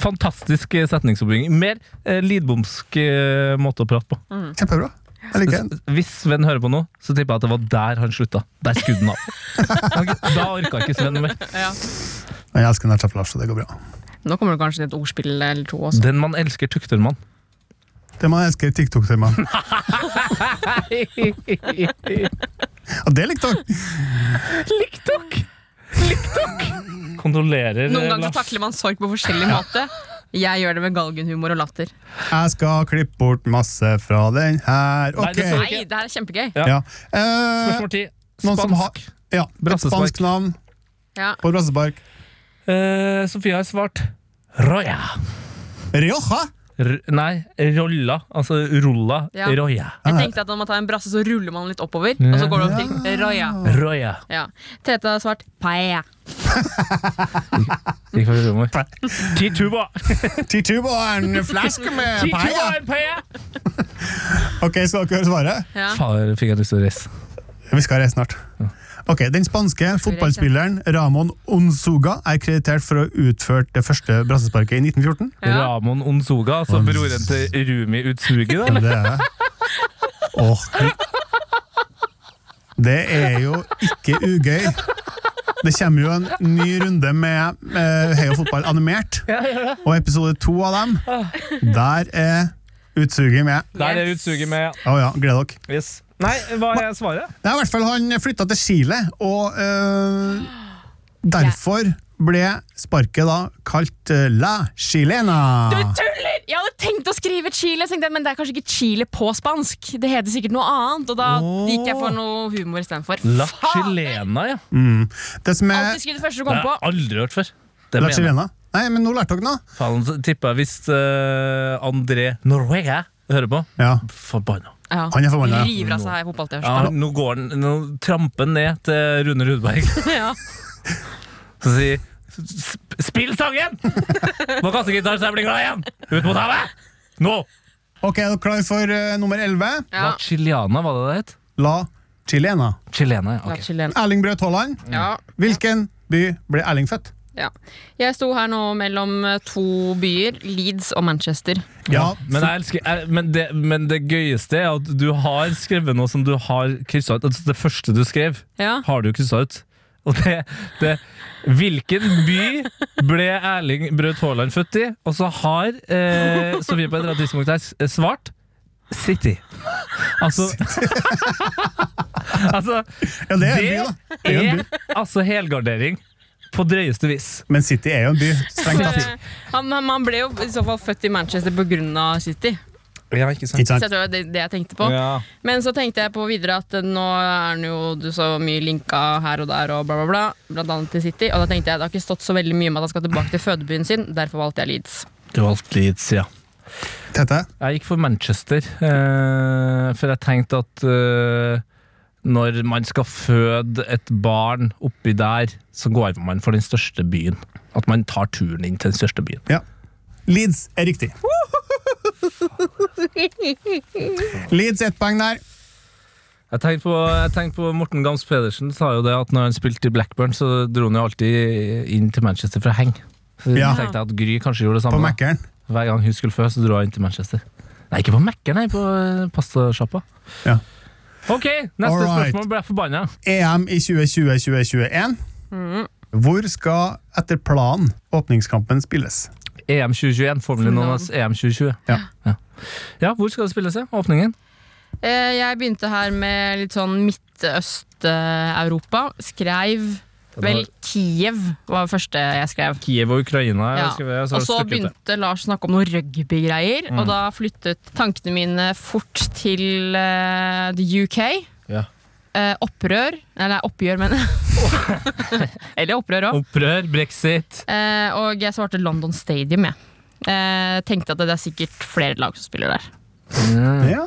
[SPEAKER 5] Fantastisk setningsoppbygging. Mer eh, lidbomsk eh, måte å prate på.
[SPEAKER 7] Kjempebra. Jeg liker
[SPEAKER 5] [LAUGHS]
[SPEAKER 7] den.
[SPEAKER 5] Hvis Sven hører på nå, så tipper jeg at det var der han slutta. Der skudde han av.
[SPEAKER 7] [LAUGHS]
[SPEAKER 5] Ok, Da orka ikke Sven mer.
[SPEAKER 7] Men jeg elsker Nacha Flash, så det går bra.
[SPEAKER 6] Nå kommer det kanskje et ordspill eller to også.
[SPEAKER 5] Den man elsker, tukter man.
[SPEAKER 7] Det man elsker
[SPEAKER 5] [LAUGHS]
[SPEAKER 7] TikTok-temaet. Og det likte dere!
[SPEAKER 5] Liktok! Liktok! Kondolerer,
[SPEAKER 6] Noen ganger
[SPEAKER 5] Lars.
[SPEAKER 6] så takler man sorg på forskjellig måte. Jeg gjør det med galgenhumor og latter.
[SPEAKER 7] Jeg skal klippe bort masse fra den her.
[SPEAKER 5] Nei,
[SPEAKER 7] Ok.
[SPEAKER 5] det sa jeg.
[SPEAKER 6] Nei, det her er kjempegøy.
[SPEAKER 7] Ja. Eh,
[SPEAKER 5] Spørsmål 10.
[SPEAKER 7] noen som har
[SPEAKER 5] Spansk.
[SPEAKER 7] ja, et
[SPEAKER 5] Brassespark.
[SPEAKER 7] spansk navn
[SPEAKER 6] Ja.
[SPEAKER 7] på brassespark.
[SPEAKER 5] Eh, Sofie har svart Roya.
[SPEAKER 7] Rioja!
[SPEAKER 5] R nei, rolla. Altså rulla.
[SPEAKER 6] Ja.
[SPEAKER 5] Roya.
[SPEAKER 6] Jeg tenkte at når man tar en brasse, så ruller man litt oppover, og så går det opp til Roya.
[SPEAKER 5] Roya.
[SPEAKER 6] Ja. Tete har svart paella.
[SPEAKER 5] Gikk for
[SPEAKER 7] [LAUGHS]
[SPEAKER 5] humor. Tituba!
[SPEAKER 7] Tituba er en flaske
[SPEAKER 5] [LAUGHS]
[SPEAKER 7] med
[SPEAKER 5] Tituba
[SPEAKER 7] paella!
[SPEAKER 5] er paella!
[SPEAKER 7] Ok, skal dere høre svaret?
[SPEAKER 6] Ja.
[SPEAKER 5] Faen, fikk jeg lyst til å reise.
[SPEAKER 7] Vi skal reise snart. Ok, Den spanske fotballspilleren Ramón Onzuga er kreditert for å ha utført det første brassesparket i 1914.
[SPEAKER 6] Ja.
[SPEAKER 5] Ramon Onzuga, altså broren til Rumi Utsugi. da,
[SPEAKER 6] [LAUGHS]
[SPEAKER 7] Det
[SPEAKER 5] eller?
[SPEAKER 7] er Åh. Det er jo ikke ugøy. Det kommer jo en ny runde med eh, Heia fotball animert, og episode to av dem, der er utsuget med.
[SPEAKER 5] Der er utsuget med
[SPEAKER 7] Å ja, gleder dere.
[SPEAKER 5] Yes. Nei, hva er svaret?
[SPEAKER 7] Det er i hvert fall han flytta til Chile, og eh, derfor ble sparket da kalt eh, La Chilena.
[SPEAKER 6] Du tuller! Jeg hadde tenkt å skrive Chile, tenkte jeg, men det er kanskje ikke Chile på spansk. Det heter sikkert noe annet, og da gikk jeg for noe humor istedenfor.
[SPEAKER 5] La
[SPEAKER 6] Faen!
[SPEAKER 5] Chilena, ja.
[SPEAKER 7] Mm. Det som er
[SPEAKER 6] Alltid skrive det første du kommer
[SPEAKER 5] Det har
[SPEAKER 6] på.
[SPEAKER 5] jeg aldri hørt før. Det
[SPEAKER 7] La
[SPEAKER 5] mener jeg.
[SPEAKER 7] Chilena? Nei, men nå lærte dere noe.
[SPEAKER 5] Faen, så tipper jeg hvis eh, André Norwega hører på. Forbanna.
[SPEAKER 6] Ja.
[SPEAKER 7] Han er forbanna, ja.
[SPEAKER 6] River av seg her fotballtøy.
[SPEAKER 5] Ja, nå går han Nå tramper han ned til Rune Rudberg [LAUGHS]
[SPEAKER 6] Ja.
[SPEAKER 5] og sier "Sp- Spill sangen! Må kaste gitaren så jeg blir glad igjen! Ut mot havet! Nå!
[SPEAKER 7] Ok, er dere klar for eh, nummer 11?
[SPEAKER 5] La Chiliana, var det det het?
[SPEAKER 7] La Chilena.
[SPEAKER 5] Chilena, ja. ok.
[SPEAKER 7] Erling Braut Haaland.
[SPEAKER 6] Ja.
[SPEAKER 7] Hvilken by ble Erling født?
[SPEAKER 6] Ja. Jeg sto her nå mellom eh, to byer, Leeds og Manchester.
[SPEAKER 7] Ja,
[SPEAKER 5] Men, jeg elsker, jeg, men, det, men det gøyeste er at du har skrevet noe som du har kryssa ut. Altså det første du skrev,
[SPEAKER 6] Ja.
[SPEAKER 5] har du kryssa ut. Og det, det Hvilken by ble Erling Braut Haaland født i? Og så har eh, Sofie på et eller annet tidspunkt her s- svart City. Altså [LAUGHS] Altså
[SPEAKER 7] Ja, det er en by, da. Det er en
[SPEAKER 5] er altså helgardering på drøyeste vis.
[SPEAKER 7] Men City er jo en by. Strengt tatt.
[SPEAKER 6] Eh, [LAUGHS] Han, han, han ble jo i så fall født i Manchester pga. City.
[SPEAKER 5] Ja, ikke
[SPEAKER 6] Så jeg tror det var det, det jeg tenkte på.
[SPEAKER 5] Ja.
[SPEAKER 6] Men så tenkte jeg på videre at eh, nå er han jo du så mye linka her og der og bla, bla, bla. Blant annet til City. Og da tenkte jeg det har ikke stått så veldig mye om at han skal tilbake til fødebyen sin. Derfor valgte jeg Leeds.
[SPEAKER 5] Du valgte Leeds, ja.
[SPEAKER 7] Tete?
[SPEAKER 5] Jeg gikk for Manchester, eh, for jeg tenkte at eh, når man skal føde et barn oppi der, så går man for den største byen. At man tar turen inn til den største byen.
[SPEAKER 7] Ja. Leeds er [LAUGHS] riktig. Leeds ett poeng der.
[SPEAKER 5] Jeg tenkte, på, jeg tenkte på Morten Gams Pedersen sa jo det at når han spilte i Blackburn, så dro han jo alltid inn til Manchester for å henge. Så
[SPEAKER 7] Ja.
[SPEAKER 5] tenkte jeg at Gry kanskje gjorde det
[SPEAKER 7] På
[SPEAKER 5] samme. da.
[SPEAKER 7] Mækkern.
[SPEAKER 5] Hver gang hun skulle føde, så dro hun inn til Manchester. Nei, ikke på Mækkern, nei, på eh, pastasjappa.
[SPEAKER 7] Ja.
[SPEAKER 5] Ok, neste
[SPEAKER 7] Alright.
[SPEAKER 5] spørsmål ble jeg forbanna.
[SPEAKER 7] EM E i 2020-2021.
[SPEAKER 5] Mm.
[SPEAKER 7] Hvor skal etter planen åpningskampen spilles?
[SPEAKER 5] EM 2021, Formel 1 EM 2020.
[SPEAKER 7] Ja.
[SPEAKER 5] E Ja. ja, hvor skal det spilles? ja? Åpningen?
[SPEAKER 6] Eh, Jeg begynte her med litt sånn Midtøst-Europa. Skreiv Vel, Kiev var det første jeg skrev.
[SPEAKER 5] Kiev og Ukraina.
[SPEAKER 6] Ja.
[SPEAKER 5] jeg skrev det,
[SPEAKER 6] og
[SPEAKER 5] har
[SPEAKER 6] så
[SPEAKER 5] jeg strukket
[SPEAKER 6] begynte Lars å snakke om noen rugbygreier,
[SPEAKER 5] Mm.
[SPEAKER 6] og da flyttet tankene mine fort til eh, the UK.
[SPEAKER 5] det. Ja.
[SPEAKER 6] Eh, opprør Nei, nei, oppgjør, mener jeg.
[SPEAKER 5] [LAUGHS]
[SPEAKER 6] Eller opprør òg.
[SPEAKER 5] Opprør, brexit
[SPEAKER 6] og jeg svarte London Stadium, jeg. Eh, tenkte at det er sikkert flere lag som spiller der.
[SPEAKER 5] Mm.
[SPEAKER 7] Ja.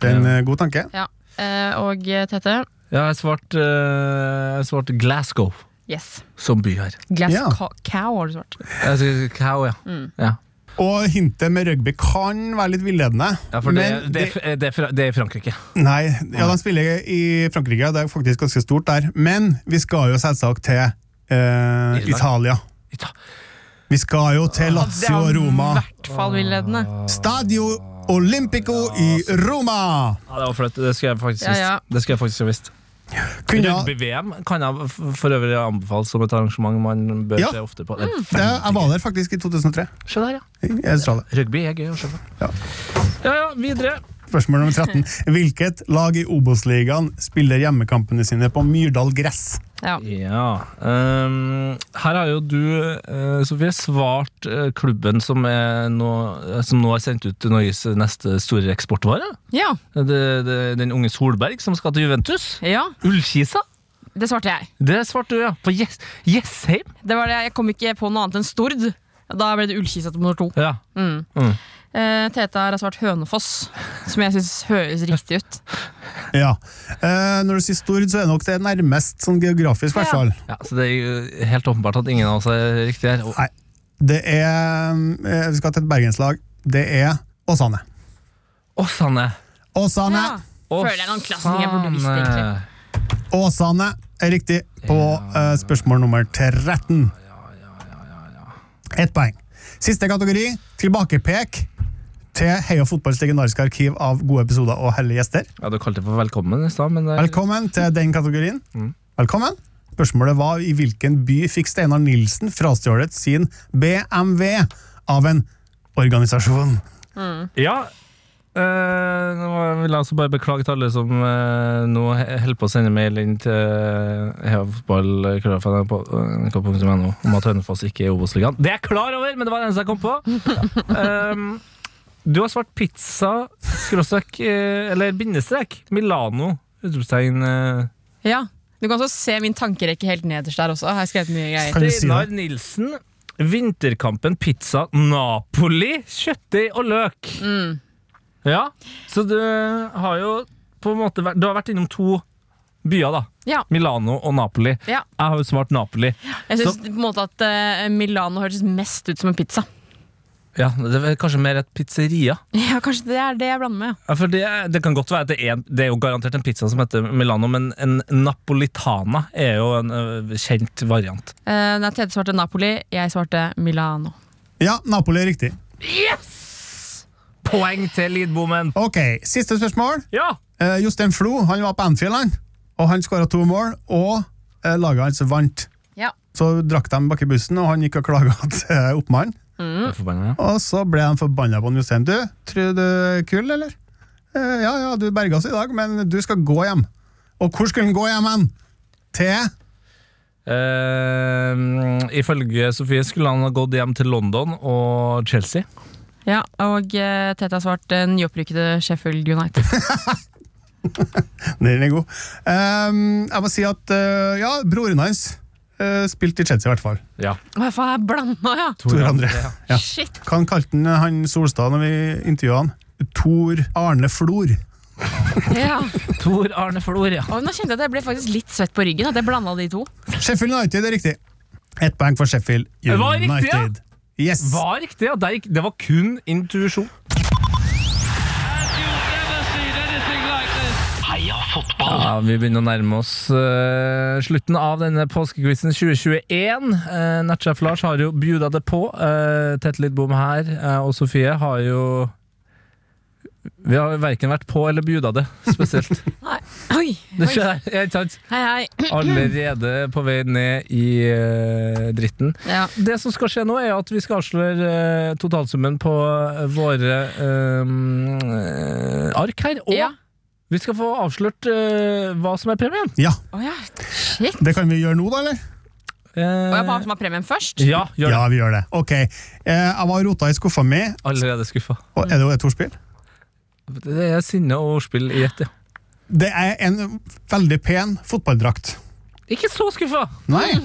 [SPEAKER 7] Det er en eh, god tanke.
[SPEAKER 6] Ja. Eh, og eh, Tete?
[SPEAKER 5] Ja, jeg svarte eh, jeg svarte Glasgow
[SPEAKER 6] Yes.
[SPEAKER 5] som by her.
[SPEAKER 7] Ja.
[SPEAKER 6] Glasgow Cow har du svart.
[SPEAKER 5] Jeg sier Cow, ja.
[SPEAKER 6] Mm.
[SPEAKER 5] ja.
[SPEAKER 7] Og hintet med rugby kan være litt villedende.
[SPEAKER 5] ja for det,
[SPEAKER 7] men
[SPEAKER 5] det, er fr- det, er fra- det er i Frankrike.
[SPEAKER 7] Nei, ja, de spiller i Frankrike, og det er faktisk ganske stort der. Men vi skal jo selvsagt til eh, Italia.
[SPEAKER 5] Ita-
[SPEAKER 7] Vi skal jo til
[SPEAKER 5] Ah,
[SPEAKER 7] Lazio og Roma.
[SPEAKER 6] I hvert fall villedende.
[SPEAKER 7] Stadio Olimpico
[SPEAKER 5] Ah,
[SPEAKER 7] i Roma!
[SPEAKER 5] Ja, det var flaut. Det skulle jeg faktisk
[SPEAKER 6] Ja, ja.
[SPEAKER 5] visst. Det skulle jeg faktisk ha visst.
[SPEAKER 7] Kunne,
[SPEAKER 5] Rugby-VM kan jeg f- for øvrig anbefale som et arrangement man bør
[SPEAKER 7] Ja.
[SPEAKER 5] se ofte på. Det er
[SPEAKER 6] Mm.
[SPEAKER 7] det, jeg var der faktisk i 2003.
[SPEAKER 5] Se der, ja.
[SPEAKER 7] I Australia.
[SPEAKER 5] Rugby er gøy å se på.
[SPEAKER 7] Ja.
[SPEAKER 5] ja ja, videre.
[SPEAKER 7] Spørsmål nummer 13. Hvilket lag i Obos-ligaen spiller hjemmekampene sine på Myrdal gress?
[SPEAKER 6] Ja.
[SPEAKER 5] Ja. ehm, her har jo du, eh, Sofie, svart eh, klubben som, er nå, eh, som nå har sendt ut Norges neste store eksportvare.
[SPEAKER 6] Ja.
[SPEAKER 5] Det, det, den unge Solberg som skal til Juventus.
[SPEAKER 6] ja.
[SPEAKER 5] Ullkisa.
[SPEAKER 6] Det svarte jeg.
[SPEAKER 5] Det svarte du, ja. På Jess- Jessheim.
[SPEAKER 6] Det var det, Jeg kom ikke på noe annet enn Stord. Da ble det Ullkisa til nummer to.
[SPEAKER 5] Ja.
[SPEAKER 6] Mm.
[SPEAKER 5] Mm.
[SPEAKER 6] Eh, Tete har svart Hønefoss, som jeg syns høres riktig ut.
[SPEAKER 7] Ja. Eh, når du sier Stord, så er det nok det nærmest sånn geografisk, i hvert fall.
[SPEAKER 5] ja. Så det er jo helt åpenbart at ingen av oss er riktig her. Og-
[SPEAKER 7] Nei. Det er eh, Vi skal til et bergenslag. Det er Åsane.
[SPEAKER 5] Åsane.
[SPEAKER 7] Åsane!
[SPEAKER 6] Ja. Føler jeg er noen klassinger jeg burde visst, egentlig.
[SPEAKER 5] Åsane.
[SPEAKER 7] Åsane er riktig på eh, spørsmål nummer 13. Ett poeng. Siste kategori, tilbakepek til Heia Fotballs legendariske arkiv av gode episoder og hellige gjester.
[SPEAKER 5] Ja, du kalte det for velkommen i stad, men det er
[SPEAKER 7] Velkommen til den kategorien. Velkommen. Spørsmålet var i hvilken by fikk Steinar Nilsen frastjålet sin BMW av en organisasjon?
[SPEAKER 5] Ja. Eh, nå vil jeg også bare beklage til alle som eh, nå he- holder på å sende mail inn til eh, heafotball.nrk.no om at Hønefoss ikke er i Obos-ligaen. Det er jeg klar over, men det var det eneste jeg kom på. Ehm, du har svart pizza, skråstrek, eh, eller bindestrek, Milano, utropstegn eh,
[SPEAKER 6] Ja. Du kan også se min tankerekke helt nederst der også. Har jeg skrevet mye greier.
[SPEAKER 5] Steinar Nilsen, Vinterkampen pizza Napoli, kjøttdeig og løk. Ja, så du har jo på en måte vært Du har vært innom to byer, da.
[SPEAKER 6] Ja.
[SPEAKER 5] Milano og Napoli.
[SPEAKER 6] Ja.
[SPEAKER 5] Jeg har jo svart Napoli.
[SPEAKER 6] Jeg
[SPEAKER 5] Så-
[SPEAKER 6] syns på en måte at eh, Milano høres mest ut som en pizza.
[SPEAKER 5] ja, det er kanskje mer et pizzeria.
[SPEAKER 6] [LAUGHS] Ja, Kanskje det er det jeg blander med.
[SPEAKER 5] Ja, for det, det kan godt være at det er, det er jo garantert en pizza som heter Milano, men en napolitana er jo en ø, kjent variant.
[SPEAKER 6] Eh, nei, Tete svarte Napoli, jeg svarte Milano.
[SPEAKER 7] Ja, Napoli er riktig.
[SPEAKER 5] Yes! Poeng til Lidbommen.
[SPEAKER 7] Ok, Siste spørsmål.
[SPEAKER 5] Ja.
[SPEAKER 7] Eh, Jostein Flo han var på Anfield, han, og han skåra to mål. Og eh, laget hans vant.
[SPEAKER 6] Ja.
[SPEAKER 7] Så drakk de bak i bussen, og han gikk og klaga [LAUGHS] til oppmannen.
[SPEAKER 5] Jeg er forbanna, ja.
[SPEAKER 7] Og så ble han forbanna på han Jostein. Du, tror du er kul, eller? «Eh, ja, ja, du berga oss i dag, men du skal gå hjem. Og hvor skulle han gå hjem hen? Til
[SPEAKER 5] Uh, ifølge Sofie skulle han ha gått hjem til London og Chelsea.
[SPEAKER 6] Ja, Og eh, Tete har svart eh, nyopprykkede Sheffield United.
[SPEAKER 7] Den er god. Ehm, jeg må si at eh, ja, broren hans eh, spilte i Chelsea, i hvert fall.
[SPEAKER 5] Ja.
[SPEAKER 6] Hva faen er blanda, ja?
[SPEAKER 7] Tor André. Ja.
[SPEAKER 6] Shit.
[SPEAKER 7] Hva han kalte han, eh, han Solstad når vi intervjua han? Tor Arne Flor.
[SPEAKER 6] Ja.
[SPEAKER 5] Tor Arne Flor, ja.
[SPEAKER 6] Og nå kjente jeg at jeg ble faktisk litt svett på ryggen. At jeg blanda de to.
[SPEAKER 7] Sheffield United er riktig. Ett poeng for Sheffield
[SPEAKER 5] Det var riktig,
[SPEAKER 7] United.
[SPEAKER 5] ja.
[SPEAKER 7] Yes.
[SPEAKER 5] Var riktig, ja. Det, gikk- det var kun intuisjon.
[SPEAKER 4] Heia fotball!
[SPEAKER 5] Ja, vi begynner å nærme oss eh, slutten av denne påskequizen 2021. Uh, Natchef Lars har jo bjuda det på. Uh, Tete Lidbom her, eh, og Sofie har jo Vi har verken vært på eller bjuda det, [LAUGHS] spesielt.
[SPEAKER 6] Oi,
[SPEAKER 5] Det skjer, ikke sant?
[SPEAKER 6] Hei, hei.
[SPEAKER 5] Allerede på vei ned i eh, dritten.
[SPEAKER 6] Ja.
[SPEAKER 5] Det som skal skje nå, er at vi skal avsløre eh, totalsummen på eh, våre ehm, eh, ark her. Og
[SPEAKER 6] Ja.
[SPEAKER 5] vi skal få avslørt eh, hva som er premien.
[SPEAKER 7] Ja.
[SPEAKER 6] Å ja. Shit.
[SPEAKER 7] Det kan vi gjøre nå, da, eller?
[SPEAKER 6] Og jeg bare som har premien først?
[SPEAKER 5] Eh, Ja, gjør
[SPEAKER 7] Ja, vi gjør det. Ok. Eh, jeg var og rota i skuffa mi.
[SPEAKER 5] Allerede skuffa.
[SPEAKER 7] Og er det jo et ordspill?
[SPEAKER 5] Det er sinne og ordspill i ett, ja.
[SPEAKER 7] Det er en veldig pen fotballdrakt.
[SPEAKER 5] Ikke så skuffa!
[SPEAKER 7] Nei.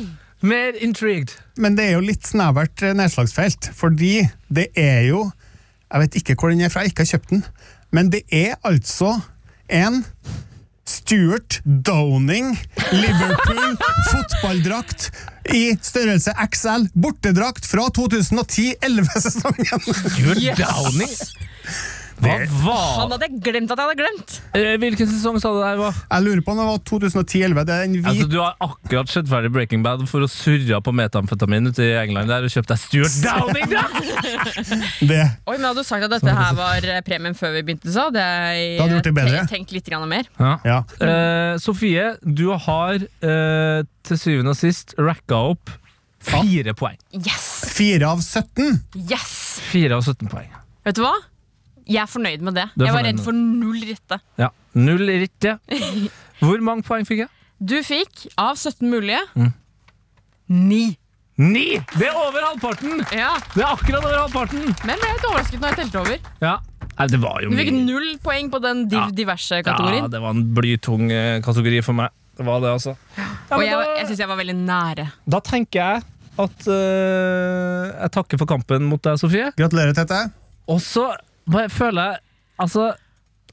[SPEAKER 5] Mer intrigued.
[SPEAKER 7] Men det er jo litt snevert eh, nedslagsfelt, fordi det er jo Jeg vet ikke hvor den er fra, jeg ikke har kjøpt den. Men det er altså en Stuart Downing Liverpool fotballdrakt i størrelse XL, bortedrakt fra 2010-11-sesongen.
[SPEAKER 5] Gjør Downing. Hva var
[SPEAKER 6] Han hadde jeg glemt at jeg hadde glemt!
[SPEAKER 5] Eh, Hvilken sesong sa du det her var?
[SPEAKER 7] Jeg lurer på om det var 2010-11. Det er en hvit
[SPEAKER 5] Altså, du har akkurat sett ferdig Breaking Bad for å surre på metamfetamin ute i England der og kjøpt deg Stuart Downing! Da.
[SPEAKER 7] det.
[SPEAKER 6] Oi, men Hadde du sagt at dette her var eh, premien før vi begynte, så hadde jeg eh,
[SPEAKER 7] Da hadde du gjort det bedre.
[SPEAKER 6] tenkt- tenkt litt grann mer.
[SPEAKER 5] Ja.
[SPEAKER 7] Ja.
[SPEAKER 5] Eh, Sofie, du har eh, til syvende og sist racka opp fire poeng.
[SPEAKER 6] Yes!
[SPEAKER 7] 4 av 17.
[SPEAKER 6] Yes!
[SPEAKER 5] Fire av 17 poeng.
[SPEAKER 6] Vet du hva? Jeg er fornøyd med det.
[SPEAKER 5] Du er
[SPEAKER 6] Jeg var
[SPEAKER 5] fornøyd
[SPEAKER 6] redd
[SPEAKER 5] med
[SPEAKER 6] for null rette.
[SPEAKER 5] Ja. Null i ritt, ja. Hvor mange poeng fikk jeg?
[SPEAKER 6] Du fikk, av 17 mulige, ni.
[SPEAKER 5] Ni! Det er over halvparten!
[SPEAKER 6] Ja,
[SPEAKER 5] Det er akkurat over halvparten!
[SPEAKER 6] Men ble litt overrasket når jeg telte over.
[SPEAKER 5] Ja. Nei, det var jo
[SPEAKER 6] Du fikk
[SPEAKER 5] mye.
[SPEAKER 6] null poeng på den div
[SPEAKER 5] Ja.
[SPEAKER 6] diverse
[SPEAKER 5] Ja,
[SPEAKER 6] kategorien.
[SPEAKER 5] det var en blytung eh, kategori for meg. Det var det, altså. Ja,
[SPEAKER 6] Og
[SPEAKER 5] men
[SPEAKER 6] jeg, var-
[SPEAKER 5] da-
[SPEAKER 6] jeg syns jeg var veldig nære.
[SPEAKER 5] Da tenker jeg at eh, jeg takker for kampen mot deg, Sofie.
[SPEAKER 7] Gratulerer, Tete.
[SPEAKER 5] Og så bare føler jeg Altså,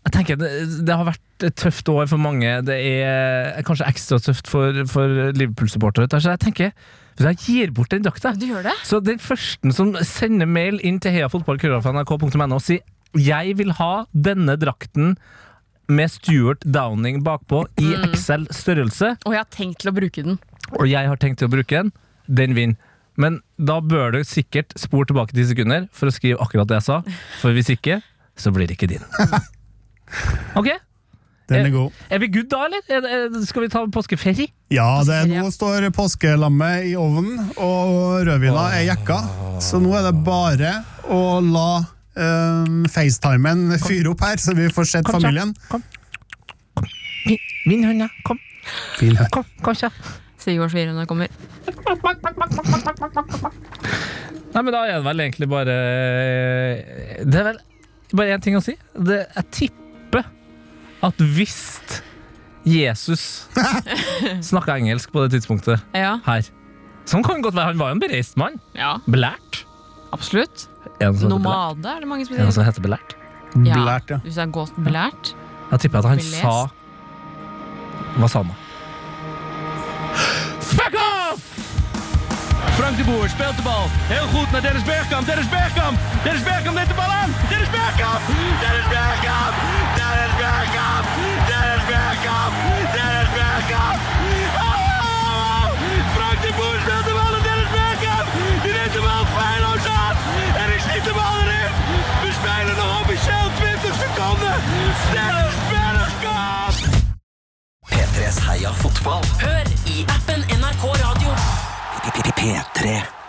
[SPEAKER 5] jeg tenker det, det har vært et tøft år for mange. Det er kanskje ekstra tøft for, for Liverpool-supportere. Så jeg tenker hvis jeg gir bort den drakta
[SPEAKER 6] Du gjør det?
[SPEAKER 5] Så den første som sender mail inn til heiafotballkurva.nrk.no og sier 'Jeg vil ha denne drakten med Stuart Downing bakpå i XL størrelse',
[SPEAKER 6] Og jeg har tenkt til å bruke den.
[SPEAKER 5] og jeg har tenkt til å bruke den, den vinner. Men da bør du sikkert spore tilbake 10 sekunder for å [LAUGHS] skrive akkurat det jeg sa. For hvis ikke, så blir det ikke din. Ok?
[SPEAKER 7] Den er god.
[SPEAKER 5] Er vi good da, eller? Er, er, skal vi ta påskeferie?
[SPEAKER 7] Ja, det, nå står påskelammet i ovnen, og rødvina er jekka. Så nå er det bare å la um, FaceTimen fyre opp her, så vi får sett
[SPEAKER 5] Kom, så.
[SPEAKER 7] familien.
[SPEAKER 5] Min, min hund, ja. Kom.
[SPEAKER 7] Fin her.
[SPEAKER 5] Kom, kom så.
[SPEAKER 6] Sigurd Svirene kommer.
[SPEAKER 5] Nei, men da er det vel egentlig bare eh, Det er vel bare én ting å si. Det, jeg tipper at hvis [LAUGHS] Jesus snakka engelsk på det tidspunktet
[SPEAKER 6] Ja.
[SPEAKER 5] her Sånn kan det godt være. Han var jo en bereist mann.
[SPEAKER 6] Ja.
[SPEAKER 5] Belært.
[SPEAKER 6] Absolutt.
[SPEAKER 5] Er altså, det noe som heter belært?
[SPEAKER 6] Nomade er det mange som
[SPEAKER 5] Er det noe som
[SPEAKER 6] sier.
[SPEAKER 5] heter belært?
[SPEAKER 6] ja. Hvis det er godt belært.
[SPEAKER 5] Jeg tipper at han
[SPEAKER 6] Belest.
[SPEAKER 5] sa Hva sa han da?
[SPEAKER 8] Fuck off! Frank de Boer speelt de bal. Heel goed naar Dennis Bergkamp. Dennis Bergkamp. Dennis Bergkamp neemt de bal aan. Dennis Bergkamp. Dennis Bergkamp. Dennis Bergkamp. Dennis Bergkamp. Dennis Bergkamp. Oh! Frank de Boer speelt de bal aan Dennis Bergkamp. Die neemt de bal feilloos aan. En die schiet de bal erin. We spelen nog officieel 20 seconden. Dennis Bergkamp.
[SPEAKER 13] P3s Heia fotball.
[SPEAKER 14] Hør i appen NRK Radio.
[SPEAKER 13] P3.